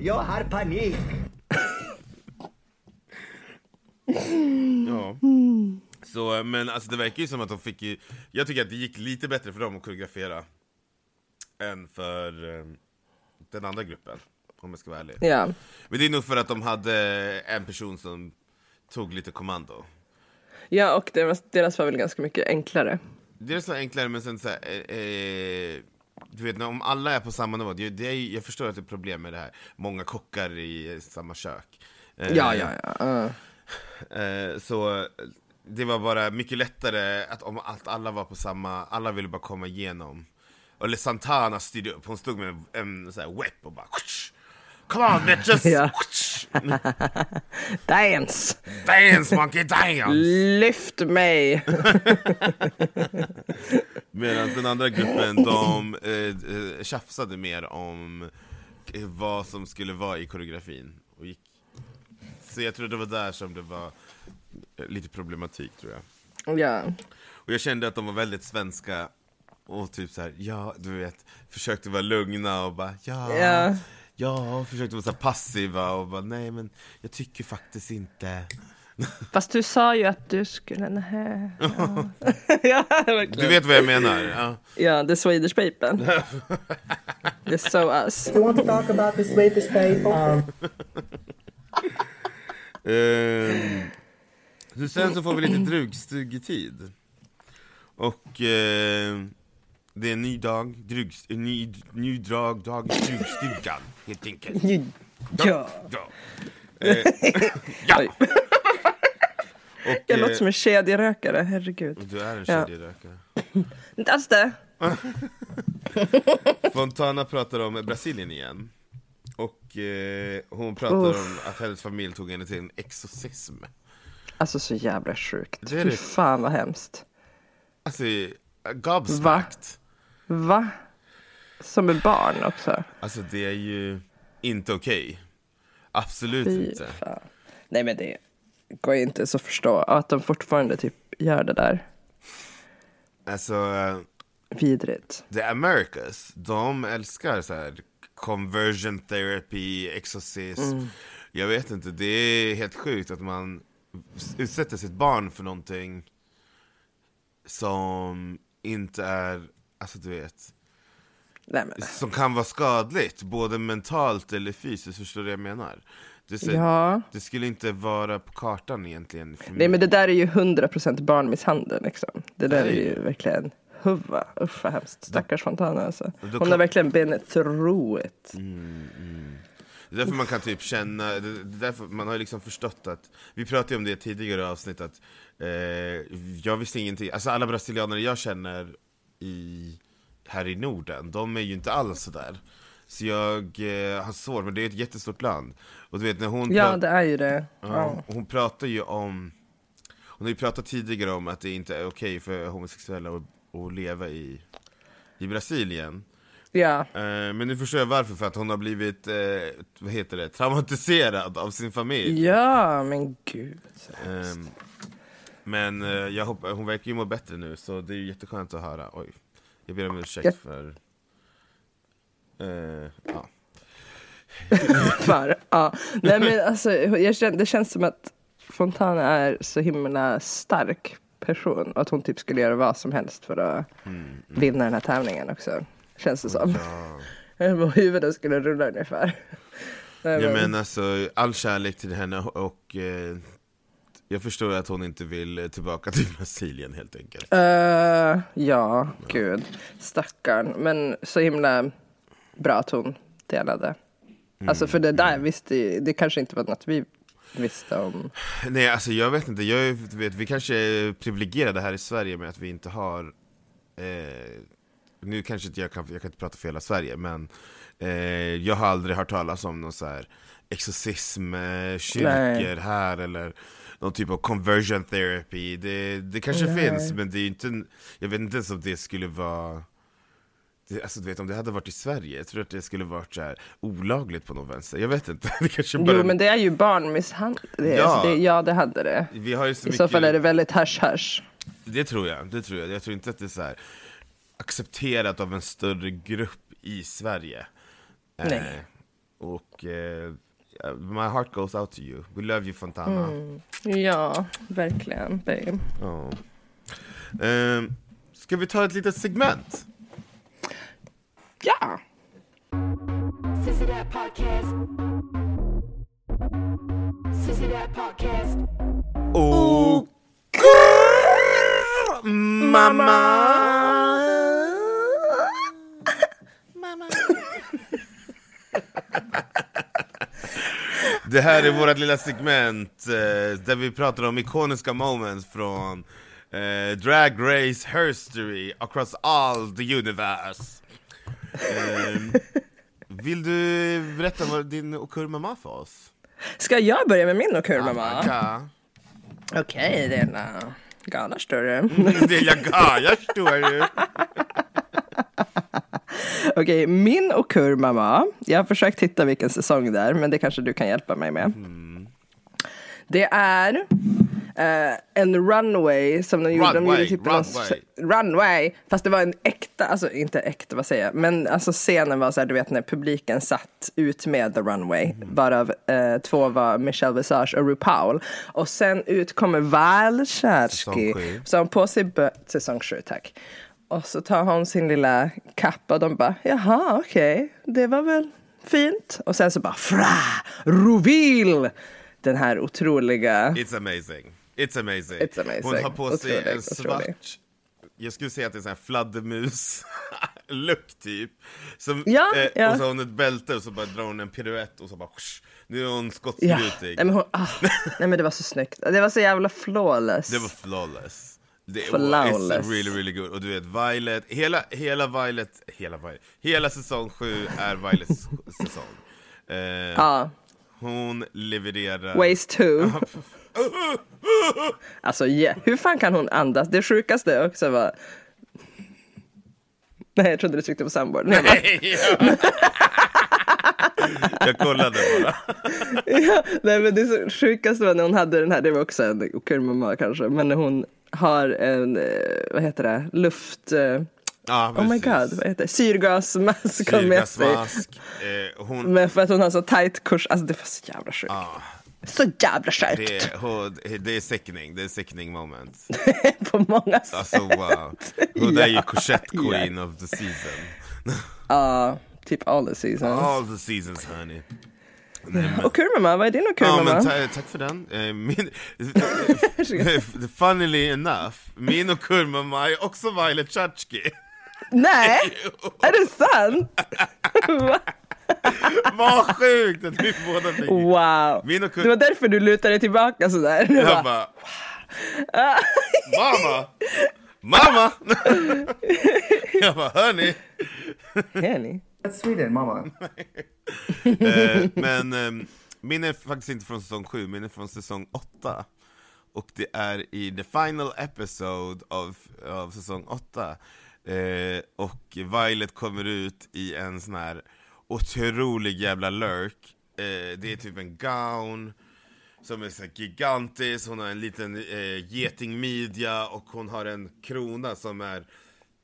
[SPEAKER 5] Jag har panik.
[SPEAKER 2] ja. Så, men alltså det verkar ju som att de fick ju, jag tycker att det gick lite bättre för dem att koreografera än för eh, den andra gruppen, om jag ska vara ärlig.
[SPEAKER 1] [laughs] Ja.
[SPEAKER 2] Men det är nog för att de hade en person som tog lite kommando.
[SPEAKER 1] ja, och deras, deras var väl ganska mycket enklare.
[SPEAKER 2] Det är så enklare, men sen så här, eh, eh, Du vet, när- om alla är på samma nivå, det, det är, ju- jag förstår att det är problem med det här, många kockar i eh, samma kök. Eh,
[SPEAKER 1] Ja, ja, ja. eh.
[SPEAKER 2] Eh, så eh, det var bara mycket lättare att om att alla var på samma, alla ville bara komma igenom. Eller Santana styrde upp, hon stod med en, en sån här whip och bara "Kutsch! Come on
[SPEAKER 1] [laughs]
[SPEAKER 2] bitches!
[SPEAKER 1] Ja.
[SPEAKER 2] Kutsch!
[SPEAKER 1] Dance!
[SPEAKER 2] Dance monkey dance!
[SPEAKER 1] Lyft mig!
[SPEAKER 2] Medan den andra gruppen, de eh, eh, tjafsade mer om eh, vad som skulle vara i koreografin. Och gick. Så jag tror det var där som det var eh, lite problematik tror jag.
[SPEAKER 1] Ja.
[SPEAKER 2] Och jag kände att de var väldigt svenska och typ så här, ja, du vet, försökte vara lugna och bara ja,
[SPEAKER 1] Ja.
[SPEAKER 2] ja, och försökte vara så här passiva och bara nej men jag tycker faktiskt inte.
[SPEAKER 1] Fast du sa ju att du skulle... Nähä. Ja. [laughs] ja, verkligen.
[SPEAKER 2] Du vet vad jag menar? Ja.
[SPEAKER 1] Ja, the Swedish [laughs] people. It's so us.
[SPEAKER 6] You want to talk about the Swedish people?
[SPEAKER 5] Um,
[SPEAKER 2] Ehm, så sen så får vi
[SPEAKER 1] [clears throat]
[SPEAKER 2] lite drugstugetid. Och eh, det är en ny dag, drugs, en ny, ny dag, dag i drugstugan helt enkelt.
[SPEAKER 1] Ja.
[SPEAKER 2] Ja. Eh, ja.
[SPEAKER 1] Oj.
[SPEAKER 2] Och,
[SPEAKER 1] Jag
[SPEAKER 2] eh,
[SPEAKER 1] låter som en kedjerökare, herregud.
[SPEAKER 2] Du är en
[SPEAKER 1] Ja.
[SPEAKER 2] kedjerökare.
[SPEAKER 1] Inte alls det.
[SPEAKER 2] Fontana pratar om Brasilien igen. Och eh, hon pratar om att hennes familj tog henne till en exorcism.
[SPEAKER 1] Alltså så jävla sjukt.
[SPEAKER 2] Det är
[SPEAKER 1] Fy
[SPEAKER 2] det.
[SPEAKER 1] fan vad hemskt.
[SPEAKER 2] Alltså, gobsmacked.
[SPEAKER 1] Va? Som ett barn också.
[SPEAKER 2] Alltså det är ju inte okej. Absolut
[SPEAKER 1] Fy
[SPEAKER 2] inte.
[SPEAKER 1] fan. Nej men det går ju inte ens att förstå. Och Att de fortfarande typ gör det där.
[SPEAKER 2] Alltså, eh,
[SPEAKER 1] Vidrigt.
[SPEAKER 2] the Americas, de älskar så här conversion therapy, exorcism.
[SPEAKER 1] Mm.
[SPEAKER 2] Jag vet inte, det är helt sjukt att man utsätter sitt barn för någonting som inte är, alltså du vet,
[SPEAKER 1] Nej men.
[SPEAKER 2] som kan vara skadligt, både mentalt eller fysiskt, förstår du vad jag menar? Det, är så-
[SPEAKER 1] Ja.
[SPEAKER 2] det skulle inte vara på kartan egentligen. För
[SPEAKER 1] Nej
[SPEAKER 2] mig.
[SPEAKER 1] men det där är ju 100% barnmisshandel liksom. Det där är
[SPEAKER 2] Nej.
[SPEAKER 1] ju verkligen huva. Usch vad hemskt. Stackars Fontana alltså.
[SPEAKER 2] då
[SPEAKER 1] Hon har
[SPEAKER 2] kom- Mm.
[SPEAKER 1] verkligen been through it.
[SPEAKER 2] Det är därför man kan typ känna, det det är därför man har liksom förstått att, vi pratade ju om det i tidigare avsnitt att eh, jag visste ingenting, alltså alla brasilianer jag känner i, här i Norden, de är ju inte alls sådär. Så jag eh, har svårt, men det är ett jättestort land. Och du vet när hon
[SPEAKER 1] Ja
[SPEAKER 2] pratar-
[SPEAKER 1] det är ju det. Ja.
[SPEAKER 2] Ja, och hon pratar ju om Hon har ju pratat tidigare om att det inte är okej för homosexuella att, att leva i, i Brasilien.
[SPEAKER 1] Ja,
[SPEAKER 2] Eh, Men nu förstår jag varför, för att hon har blivit, eh, vad heter det, traumatiserad av sin familj.
[SPEAKER 1] ja men gud.
[SPEAKER 2] Ehm, men eh, jag hoppas, hon verkar ju må bättre nu, så det är ju jätteskönt att höra. Oj, jag ber om ursäkt
[SPEAKER 1] Jag-
[SPEAKER 2] för... Eh, ja.
[SPEAKER 1] För, ja. Nej, men alltså, jag känner, det känns som att Fontana är så himla stark person och att hon typ skulle göra vad som helst för att
[SPEAKER 2] Mm.
[SPEAKER 1] vinna den här tävlingen också. Känns det som. [laughs] Vad huvuden skulle rulla ungefär. Nej,
[SPEAKER 2] Jag
[SPEAKER 1] men-
[SPEAKER 2] menar alltså, all kärlek till henne och eh, jag förstår att hon inte vill tillbaka till Brasilien helt enkelt.
[SPEAKER 1] Eh, ja, gud. Stackarn. Men så himla bra att hon delade.
[SPEAKER 2] Mm.
[SPEAKER 1] Alltså för det där visste ju, det kanske inte var något vi visste om.
[SPEAKER 2] Nej, alltså jag vet inte. Jag är- vet, vi kanske är privilegierade här i Sverige med att vi inte har... Eh, nu kanske inte jag kan, jag kan inte prata för hela Sverige, men eh, jag har aldrig hört talas om någon så här exorcismkyrkor eh, kyrkor här eller någon typ av conversion therapy. Det, det kanske finns, men det är ju inte... en- Jag vet inte ens om det skulle vara... Det, alltså du vet om det hade varit i Sverige, jag tror att det skulle varit så här olagligt på någon vänster. Jag vet inte. [laughs] Det kanske bara...
[SPEAKER 1] Jo men det är ju barnmisshandel. Det,
[SPEAKER 2] Ja.
[SPEAKER 1] ja. Alltså det, ja det hade det.
[SPEAKER 2] Vi har ju så
[SPEAKER 1] I så
[SPEAKER 2] mycket-
[SPEAKER 1] fall är det väldigt hasch hasch.
[SPEAKER 2] Det tror jag, det tror jag. Jag tror inte att det är så här accepterat av en större grupp i Sverige. Eh,
[SPEAKER 1] Nej.
[SPEAKER 2] och eh, my heart goes out to you. We love you Fontana.
[SPEAKER 1] Ja, verkligen babe.
[SPEAKER 2] Ja. Ehm, ska vi ta ett litet segment?
[SPEAKER 1] Ja!
[SPEAKER 8] Sissy That Podcast. Sissy That Podcast.
[SPEAKER 2] Oh, mamma! Det här är vårt lilla segment eh, där vi pratar om ikoniska moments från eh, Drag Race History across all the universe. Ehm, vill du berätta vad din okur mamma för oss?
[SPEAKER 1] Ska jag börja med min och kul mamma?
[SPEAKER 2] Anka.
[SPEAKER 1] Okej, det är en gana större.
[SPEAKER 2] Det är jag gav, jag förstår ju.
[SPEAKER 1] Okej, min och Kur mamma. Jag har försökt hitta vilken säsong det är, men det kanske du kan hjälpa mig med.
[SPEAKER 2] Mm.
[SPEAKER 1] Det är eh, en runway som de gjorde. de
[SPEAKER 2] Runway,
[SPEAKER 1] gjorde någon s- runway. Fast det var en äkta, alltså inte äkta, vad säger jag? Men alltså scenen var så här, du vet när publiken satt ut med the runway.
[SPEAKER 2] Mm.
[SPEAKER 1] Varav eh, två var Michelle Visage och RuPaul. Och sen ut kommer Val
[SPEAKER 2] Säsong sju.
[SPEAKER 1] Scherski. Så har hon på sig bö- säsong 7, tack. Och så tar hon sin lilla kappa och de bara, jaha okej, det var väl fint. Och sen så bara, fra, rovil! Den här otroliga,
[SPEAKER 2] It's amazing. It's amazing.
[SPEAKER 1] It's amazing.
[SPEAKER 2] Hon har på sig
[SPEAKER 1] Otroligt,
[SPEAKER 2] en svart,
[SPEAKER 1] otroligt.
[SPEAKER 2] jag skulle säga att det är en [laughs] fladdermus-look typ. Som, eh,
[SPEAKER 1] Ja, ja.
[SPEAKER 2] Och så har hon ett bälte och så bara drar hon en piruett och så bara whoosh, nu är hon
[SPEAKER 1] ja, nej
[SPEAKER 2] skottklutig.
[SPEAKER 1] men, hon, ah, nej men det var så snyggt. Det var så jävla flawless.
[SPEAKER 2] Det var flawless. Det
[SPEAKER 1] Flawless.
[SPEAKER 2] It's really really good. Och du vet Violet, hela, hela Violet, hela Violet, hela säsong 7 är Violets säsong. Eh,
[SPEAKER 1] Ja,
[SPEAKER 2] Hon levererar.
[SPEAKER 1] waste two. Alltså yeah. hur fan kan hon andas? Det sjukaste också var... Nej jag trodde du tryckte på soundboard. Nej, men-
[SPEAKER 2] [laughs] jag kollade bara.
[SPEAKER 1] Ja, nej men det så- sjukaste var när hon hade den här, det var också en okul mamma kanske, men när hon har en, eh, vad heter det, luft, eh,
[SPEAKER 2] Ja,
[SPEAKER 1] oh my
[SPEAKER 2] precis.
[SPEAKER 1] god, vad heter det, syrgasmask har med sig.
[SPEAKER 2] Syrgasmask. Eh, hon,
[SPEAKER 1] Men för att hon har så tight kurs, alltså det var så jävla sjukt. Så jävla sjukt
[SPEAKER 2] det, är, hon, det är sickning, det är sickning moment.
[SPEAKER 1] [laughs] på många sätt.
[SPEAKER 2] Alltså wow. Hon är ju
[SPEAKER 1] Ja,
[SPEAKER 2] korsett queen of the season.
[SPEAKER 1] Ja, typ all the seasons.
[SPEAKER 2] All the seasons honey.
[SPEAKER 1] Och kurmamma, vad är din och
[SPEAKER 2] Ja, men
[SPEAKER 1] kurmamma?
[SPEAKER 2] ta, tack för den. Eh, Min, [laughs] funnily enough, min och Kurmamma är också Violet Chachki.
[SPEAKER 1] nej, är det sant? Va?
[SPEAKER 2] [laughs] Vad sjukt att vi båda fick
[SPEAKER 1] wow,
[SPEAKER 2] Min och Kur-
[SPEAKER 1] det var därför du lutade tillbaka sådär. Du bara,
[SPEAKER 2] Jag bara... Mamma! Mamma! [laughs] Jag bara, hörni!
[SPEAKER 1] Jenny.
[SPEAKER 5] That's Sweden, mamma.
[SPEAKER 2] ehm, Eh, men eh, min är faktiskt inte från säsong 7, min är från säsong 8. och det är i the final episode av, av säsong 8. Eh, och Violet kommer ut i en sån här otrolig jävla lurk. Eh, det är typ en gown som är så här gigantisk, hon har en liten eh, getingmidja och hon har en krona som är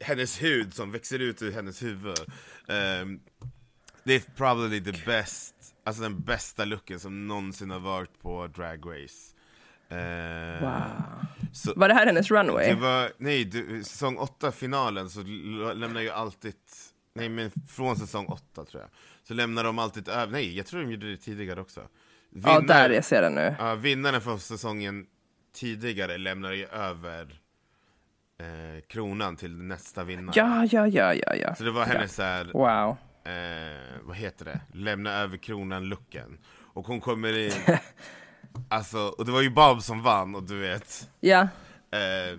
[SPEAKER 2] hennes hud som växer ut ur hennes huvud. Ehm, det är probably the best, alltså den bästa looken som någonsin har varit på Drag Race. Ehm, så-
[SPEAKER 1] Var det här hennes runway?
[SPEAKER 2] det var, nej, du, säsong 8 finalen så l- lämnar ju alltid, nej men från säsong 8 tror jag, så lämnar de alltid över, nej jag tror de gjorde det tidigare också.
[SPEAKER 1] Ja,
[SPEAKER 2] Vinnaren-
[SPEAKER 1] där jag ser den nu.
[SPEAKER 2] Ja, vinnaren från säsongen tidigare lämnar ju över eh, kronan till nästa vinnare.
[SPEAKER 1] Ja, ja, ja, ja, ja.
[SPEAKER 2] Så det var hennes såhär,
[SPEAKER 1] Wow.
[SPEAKER 2] eh, vad heter det, lämna över kronan-looken. Och hon kommer in,
[SPEAKER 1] [laughs]
[SPEAKER 2] alltså, och det var ju Bob som vann och du vet,
[SPEAKER 1] Ja,
[SPEAKER 2] eh,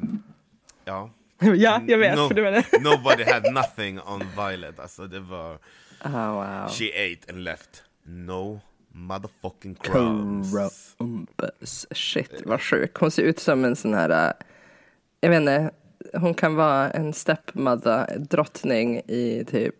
[SPEAKER 2] ja.
[SPEAKER 1] [laughs] ja jag vet.
[SPEAKER 2] No-
[SPEAKER 1] För det var det.
[SPEAKER 2] [laughs] nobody had nothing on Violet, alltså det var,
[SPEAKER 1] Ah, wow.
[SPEAKER 2] she ate and left no motherfucking crumbs.
[SPEAKER 1] Rumpus. Shit, vad sjuk. Hon ser ut som en sån här... äh, Jag vet inte. Hon kan vara en stepmother, drottning i typ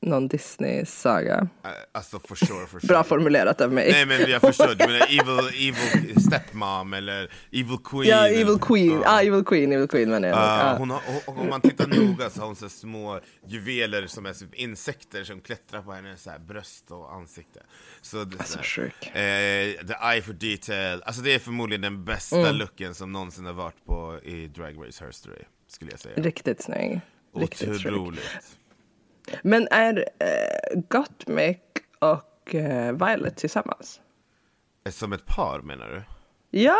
[SPEAKER 1] någon Disney-saga.
[SPEAKER 2] Eh, Alltså for sure, for sure.
[SPEAKER 1] Bra formulerat av mig.
[SPEAKER 2] Nej men jag förstår, du menar evil, evil stepmom eller evil
[SPEAKER 1] [laughs]
[SPEAKER 2] queen?
[SPEAKER 1] ja, Evil Queen.
[SPEAKER 2] Ja.
[SPEAKER 1] Ah, Evil Queen, Evil Queen menar jag.
[SPEAKER 2] Ja,
[SPEAKER 1] Ah.
[SPEAKER 2] hon har, och- och om man tittar noga så har hon så här små juveler som är typ insekter som klättrar på hennes så här bröst och ansikte. Så det, är
[SPEAKER 1] Alltså,
[SPEAKER 2] så här,
[SPEAKER 1] sjuk.
[SPEAKER 2] eh, the eye for detail, alltså det är förmodligen den bästa
[SPEAKER 1] Mm.
[SPEAKER 2] looken som någonsin har varit på i Drag Race Herstory, skulle jag säga.
[SPEAKER 1] Riktigt snygg. Riktigt sjuk.
[SPEAKER 2] Otroligt.
[SPEAKER 1] Men är eh, Gottmik och eh, Violet tillsammans?
[SPEAKER 2] Eh, Som ett par menar du?
[SPEAKER 1] Ja,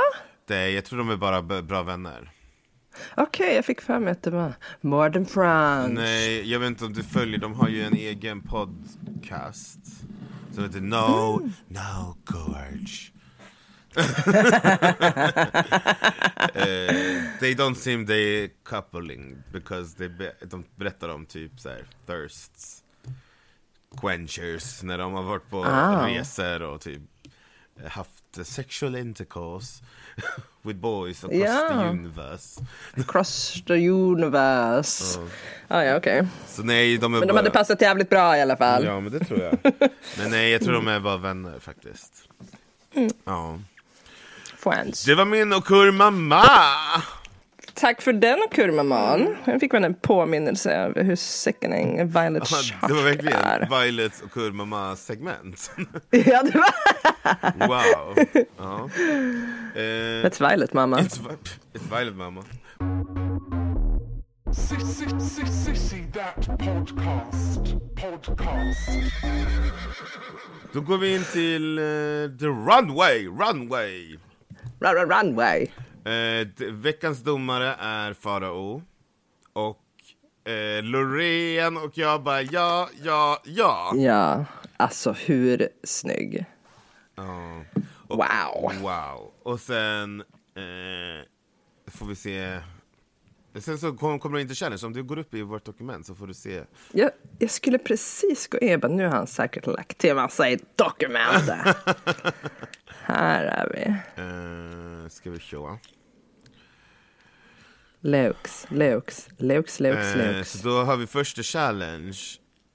[SPEAKER 2] Det, jag tror de är bara b- bra vänner.
[SPEAKER 1] okej, jag fick för mig att det var More than France.
[SPEAKER 2] Nej, jag vet inte om du följer, de har ju en egen podcast som heter No,
[SPEAKER 1] Mm.
[SPEAKER 2] No
[SPEAKER 1] [laughs]
[SPEAKER 2] Gorge. Eh, they don't seem they coupling because they be- de berättar om typ så här thirsts, quenchers när de har varit på
[SPEAKER 1] Ah.
[SPEAKER 2] resor och typ haft sexual intercourse [laughs] with boys across
[SPEAKER 1] Ja.
[SPEAKER 2] the universe.
[SPEAKER 1] Across the universe. Ah, ja, okej.
[SPEAKER 2] Så nej, de är
[SPEAKER 1] Men de
[SPEAKER 2] bara...
[SPEAKER 1] hade passat jävligt bra i alla fall.
[SPEAKER 2] Ja men det tror jag. Men nej jag tror de är bara vänner faktiskt. Ja.
[SPEAKER 1] Friends.
[SPEAKER 2] Det var min och kur mamma!
[SPEAKER 1] Tack för den kurmaman. Jag fick väl en påminnelse över hur sickening Violet
[SPEAKER 2] Det var
[SPEAKER 1] Shark är.
[SPEAKER 2] verkligen Violets och kur mamma segment.
[SPEAKER 1] [laughs] Ja, det var
[SPEAKER 2] Wow. Ja. Eh,
[SPEAKER 1] ett Violet mamma.
[SPEAKER 2] ett, vi- ett Violet mamma.
[SPEAKER 3] Sissy That Podcast. Podcast.
[SPEAKER 2] Då går vi in till eh, the runway, runway.
[SPEAKER 1] Run, run, runway.
[SPEAKER 2] Eh, d- veckans domare är Farao. Och eh, Loreen och jag bara ja, ja, ja.
[SPEAKER 1] Ja, alltså hur snygg.
[SPEAKER 2] ja.
[SPEAKER 1] Wow.
[SPEAKER 2] Wow. Och sen eh, får vi se. Sen så kom- kommer det inte challenge. Om du går upp i vårt dokument så får du se.
[SPEAKER 1] Jag, jag skulle precis gå in, men nu har han säkert lagt till massa i
[SPEAKER 2] [laughs]
[SPEAKER 1] dokumentet. Här är vi.
[SPEAKER 2] Eh, ska vi se.
[SPEAKER 1] Lux, Lux, Lux, Lux,
[SPEAKER 2] Eh,
[SPEAKER 1] Lux.
[SPEAKER 2] så då har vi första challenge.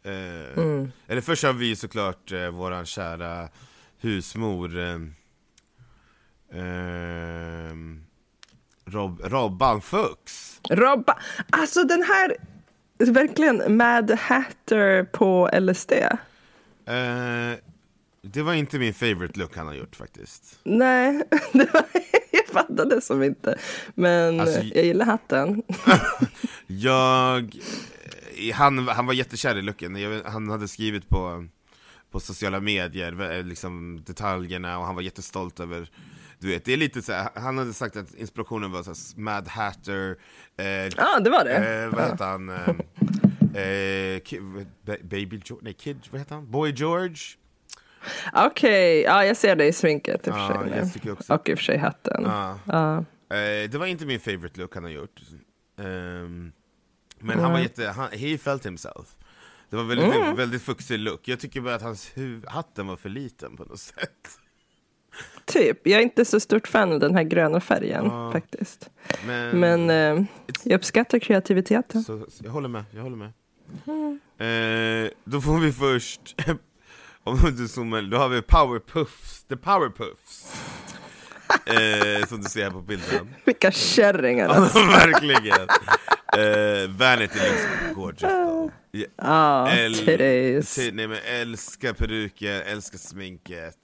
[SPEAKER 2] Eh, Eller först har vi såklart eh, våran kära husmor. Eh, eh, Rob, Robban Fuchs.
[SPEAKER 1] Robba, alltså den här, verkligen Mad Hatter på LSD.
[SPEAKER 2] Eh, det var inte min favorite look han har gjort faktiskt.
[SPEAKER 1] Nej, [laughs] det var, jag fattade som inte. Men
[SPEAKER 2] Alltså,
[SPEAKER 1] jag gillar hatten.
[SPEAKER 2] Jag... eh, Han, han var jättekär i looken, jag, vet- han hade skrivit på, på sociala medier, eh, liksom detaljerna och han var jättestolt över du vet, det är lite så här, han hade sagt att inspirationen var så här, Mad Hatter, eh,
[SPEAKER 1] Ja, det var det.
[SPEAKER 2] eh, vad heter han, eh, eh, Ki- Ba- Baby George, nej Kid, vad heter han, Boy George?
[SPEAKER 1] Okej, ja, jag ser det i sminket i och
[SPEAKER 2] Ja,
[SPEAKER 1] för sig. nu.
[SPEAKER 2] jag tycker också.
[SPEAKER 1] Och i och för sig hatten.
[SPEAKER 2] Ja. Eh, det var inte min favorite look han har gjort. Ehm, men han var jätte, han, he felt himself. Det var väldigt, väldigt fuxig look. Jag tycker bara att hans huv, hatten var för liten på något sätt.
[SPEAKER 1] typ. Jag är inte så stort fan av den här gröna färgen faktiskt.
[SPEAKER 2] Men,
[SPEAKER 1] Men eh, jag uppskattar
[SPEAKER 2] [laughs]
[SPEAKER 1] kreativiteten.
[SPEAKER 2] Så, så, jag håller med, jag håller med. Eh, då får vi först, [laughs] om du zoomar, då har vi Powerpuffs, The [laughs] Powerpuffs. Eh, som du ser här på bilden.
[SPEAKER 1] Vilka kärringar
[SPEAKER 2] Ja,
[SPEAKER 1] alltså.
[SPEAKER 2] [laughs] Verkligen! Eh, Vanity looks gorgeous though. Ja,
[SPEAKER 1] Ah,
[SPEAKER 2] äl-
[SPEAKER 1] titties.
[SPEAKER 2] ti- nej, men älskar peruker, älskar sminket.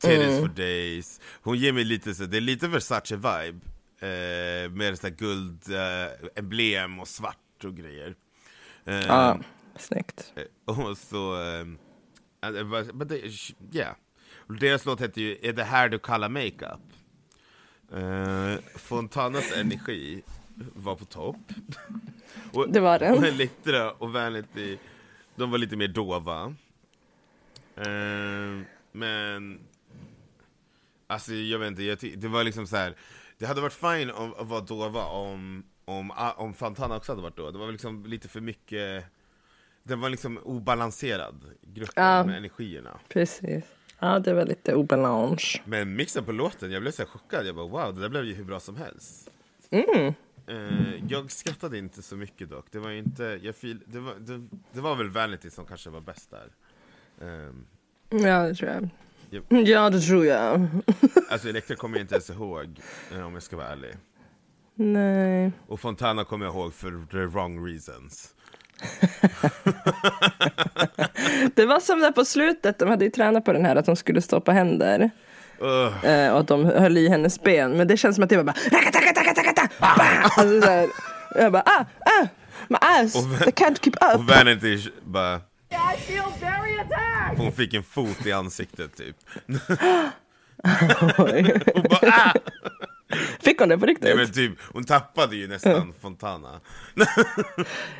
[SPEAKER 2] Titties for days. Hon ger mig lite så, det är lite Versace-vibe. Eh, med så här guld, eh, emblem och svart och grejer. Eh,
[SPEAKER 1] Ah, snyggt.
[SPEAKER 2] [laughs] och så... ehm, att det var- but they- sh- yeah. Och Deras låt heter ju Är det här du kallar makeup? Eh, Fontanas energi var på topp. [laughs] Och,
[SPEAKER 1] Det var den.
[SPEAKER 2] Och Elektra och Vanity, de var lite mer dova. Eh, men... Alltså jag vet inte, jag ty- det var liksom så här. Det hade varit fint att att vara dova om, om, om Fontana också hade varit då. Det var väl liksom lite för mycket den var liksom obalanserad, gruppen
[SPEAKER 1] Ja.
[SPEAKER 2] med energierna.
[SPEAKER 1] Precis. Ja, det var lite obalans.
[SPEAKER 2] Men mixen på låten, jag blev så här chockad. Jag bara wow, det där blev ju hur bra som helst. Eh, jag skrattade inte så mycket dock. Det var ju inte, jag fil, det, var, det, det var väl Vanity som kanske var bäst där. Ehm,
[SPEAKER 1] Ja, det tror jag.
[SPEAKER 2] Japp.
[SPEAKER 1] Ja, det tror jag. [laughs]
[SPEAKER 2] alltså Elektra kommer jag inte ens ihåg, eh, om jag ska vara ärlig.
[SPEAKER 1] Nej.
[SPEAKER 2] Och Fontana kommer jag ihåg för the wrong reasons.
[SPEAKER 1] Det var som där på slutet, de hade ju tränat på den här att de skulle stå på händer.
[SPEAKER 2] Ugh.
[SPEAKER 1] Eh, och att de höll i hennes ben. Men det känns som att det var bara... rakatakatakatakata,
[SPEAKER 2] Ah!
[SPEAKER 1] bam! Alltså så här. Jag bara... Ah, ah, my eyes,
[SPEAKER 2] Och vä-
[SPEAKER 1] I can't keep
[SPEAKER 2] Och
[SPEAKER 1] up.
[SPEAKER 2] Vanity bara,
[SPEAKER 8] I feel very attacked.
[SPEAKER 2] hon fick en fot i ansiktet typ.
[SPEAKER 1] [laughs] Oj.
[SPEAKER 2] Och bara, ah!
[SPEAKER 1] Fick hon det på
[SPEAKER 2] Nej,
[SPEAKER 1] riktigt?
[SPEAKER 2] men typ, hon tappade ju nästan Fontana.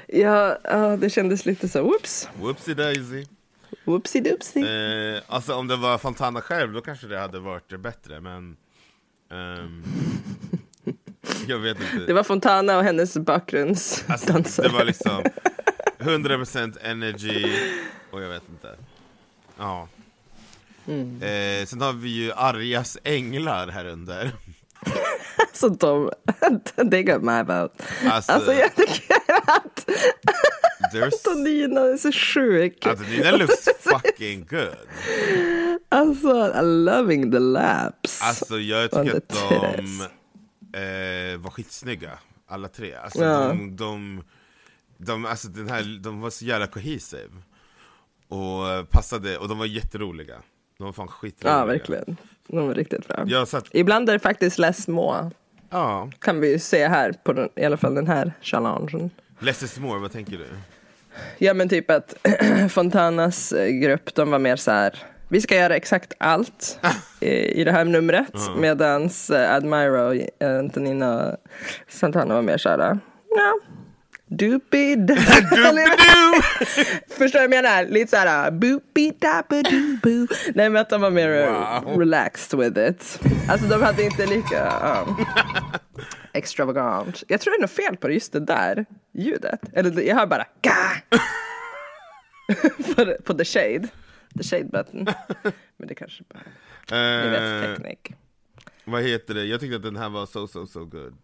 [SPEAKER 1] Ja, ja, det kändes lite så... Whoops,
[SPEAKER 2] Whoopsie daisy.
[SPEAKER 1] whoopsie doopsie.
[SPEAKER 2] Eh, alltså om det var Fontana själv då kanske det hade varit bättre men... ehm, jag vet inte.
[SPEAKER 1] Det var Fontana och hennes bakgrundsdansare.
[SPEAKER 2] alltså,
[SPEAKER 1] [laughs]
[SPEAKER 2] det var liksom 100% energy och jag vet inte. Ja.
[SPEAKER 1] Mm.
[SPEAKER 2] Eh, sen har vi ju Arjas änglar här under.
[SPEAKER 1] Så [laughs] dum. They got my vote.
[SPEAKER 2] Alltså,
[SPEAKER 1] Alltså jag tycker att
[SPEAKER 2] there's...
[SPEAKER 1] Antonina är så sjuk.
[SPEAKER 2] Alltså Nina looks fucking good.
[SPEAKER 1] Alltså, I'm loving the laps.
[SPEAKER 2] Alltså jag tycker
[SPEAKER 1] Under
[SPEAKER 2] att de
[SPEAKER 1] Therese.
[SPEAKER 2] eh, var skitsnygga, alla tre. Alltså,
[SPEAKER 1] Ja.
[SPEAKER 2] de, de, de, alltså den här, de var så jävla cohesive. Och eh, passade, och de var jätteroliga. De var fan skitroliga.
[SPEAKER 1] ja, verkligen. De var riktigt bra.
[SPEAKER 2] Jag satt,
[SPEAKER 1] Ibland är det faktiskt less små.
[SPEAKER 2] ja,
[SPEAKER 1] Kan vi ju se här, på den, i alla fall den här challengen.
[SPEAKER 2] less is more, vad tänker du?
[SPEAKER 1] Ja men typ att [clears throat] Fontanas eh, grupp, de var mer så här. Vi ska göra exakt allt i, i det här numret. Medans eh, Admira och eh, Antonina och Santana var mer så här. Ja. Doopid.
[SPEAKER 2] Doopidoo!
[SPEAKER 1] [laughs] Förstår du vad jag menar? Lite så här. boopy boo Nej men att de var mer eh,
[SPEAKER 2] Wow.
[SPEAKER 1] relaxed with it. Alltså de hade inte lika ja, extravagant. Jag tror det är något fel på just det där ljudet. Eller det- jag hör bara. Gah! på, på the shade. The shade
[SPEAKER 2] [laughs]
[SPEAKER 1] button. Men det kanske bara är rätt
[SPEAKER 2] Eh,
[SPEAKER 1] teknik.
[SPEAKER 2] vad heter det, jag tyckte att den här var so so so good.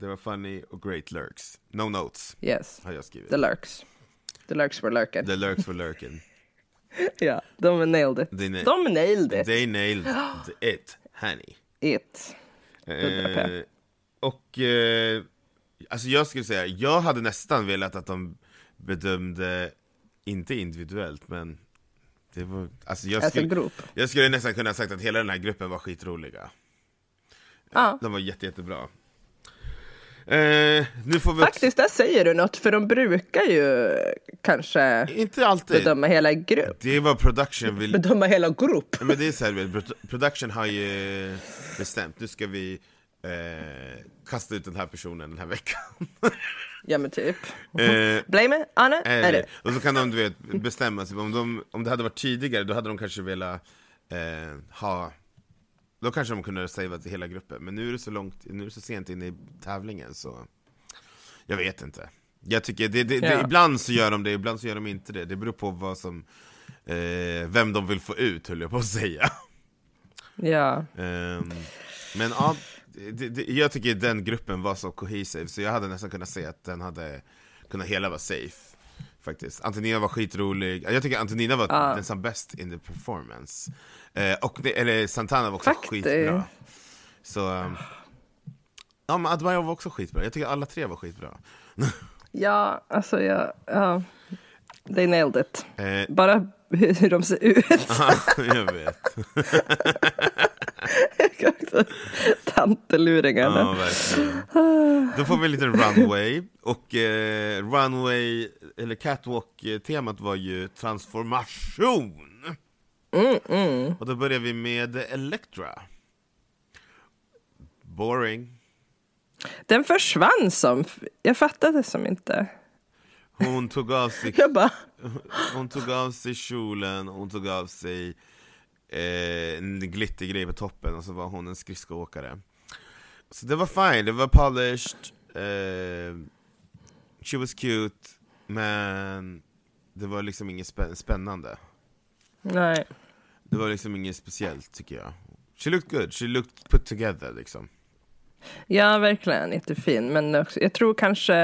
[SPEAKER 2] Det var funny och great lurks. No notes,
[SPEAKER 1] Yes.
[SPEAKER 2] har jag skrivit.
[SPEAKER 1] The lurks. The lurks were lurking.
[SPEAKER 2] The lurks
[SPEAKER 1] [laughs]
[SPEAKER 2] for lurking.
[SPEAKER 1] Ja, de nailed it.
[SPEAKER 2] They na-
[SPEAKER 1] de nailed it.
[SPEAKER 2] They nailed it, honey.
[SPEAKER 1] it.
[SPEAKER 2] Eh, och eh, alltså jag skulle säga, jag hade nästan velat att de bedömde, inte individuellt men det var, alltså jag,
[SPEAKER 1] Alltså
[SPEAKER 2] skulle,
[SPEAKER 1] grupp.
[SPEAKER 2] jag skulle nästan kunna ha sagt att hela den här gruppen var skitroliga.
[SPEAKER 1] Ja.
[SPEAKER 2] De var jätte, jättebra. Eh, nu får vi också-
[SPEAKER 1] Faktiskt, där säger du något, för de brukar ju kanske
[SPEAKER 2] inte alltid.
[SPEAKER 1] bedöma hela grupp.
[SPEAKER 2] Det var production vill,
[SPEAKER 1] Bedöma hela grupp.
[SPEAKER 2] Men det är så här, du vet, production har ju bestämt, nu ska vi eh, kasta ut den här personen den här veckan.
[SPEAKER 1] Ja men typ.
[SPEAKER 2] Eh,
[SPEAKER 1] Blame it, Anna,
[SPEAKER 2] Eller,
[SPEAKER 1] är det?
[SPEAKER 2] Och så kan de du vet, bestämma sig, om, de, om det hade varit tidigare då hade de kanske velat eh, ha Då kanske de kunde ha saveat till hela gruppen, men nu är det så långt, nu är det så sent in i tävlingen så Jag vet inte Jag tycker, det, det, det,
[SPEAKER 1] Ja.
[SPEAKER 2] ibland så gör de det, ibland så gör de inte det, det beror på vad som eh, Vem de vill få ut höll jag på att säga
[SPEAKER 1] Ja.
[SPEAKER 2] Ehm, men ja, det, det, jag tycker den gruppen var så cohesive så jag hade nästan kunnat se att den hade kunnat hela vara safe. Faktiskt. Antonina var skitrolig, jag tycker Antonina var den som bäst in the performance. Eh, och det, eller Santana var också
[SPEAKER 1] Faktiskt.
[SPEAKER 2] skitbra. Så, ehm, ja men Admire var också skitbra, jag tycker alla tre var skitbra.
[SPEAKER 1] Ja, alltså jag... Ja. They nailed it.
[SPEAKER 2] Eh,
[SPEAKER 1] Bara hur de ser ut.
[SPEAKER 2] [laughs] jag vet.
[SPEAKER 1] [laughs] Tanteluringarna.
[SPEAKER 2] Ja, verkligen. Då får vi lite runway, och eh, runway, eller catwalk-temat var ju transformation! Och då börjar vi med Elektra. Boring.
[SPEAKER 1] Den försvann som... Jag fattade som inte.
[SPEAKER 2] Hon tog av sig,
[SPEAKER 1] Jag bara...
[SPEAKER 2] hon tog av sig kjolen, hon tog av sig eh, en glittergrej på toppen och så var hon en skridskoåkare. Så det var fine, det var polished, eh, she was cute, men det var liksom inget spä- spännande.
[SPEAKER 1] Nej.
[SPEAKER 2] Det var liksom inget speciellt tycker jag. She looked good, she looked put together liksom.
[SPEAKER 1] Ja, verkligen jättefin. Men också, jag tror kanske...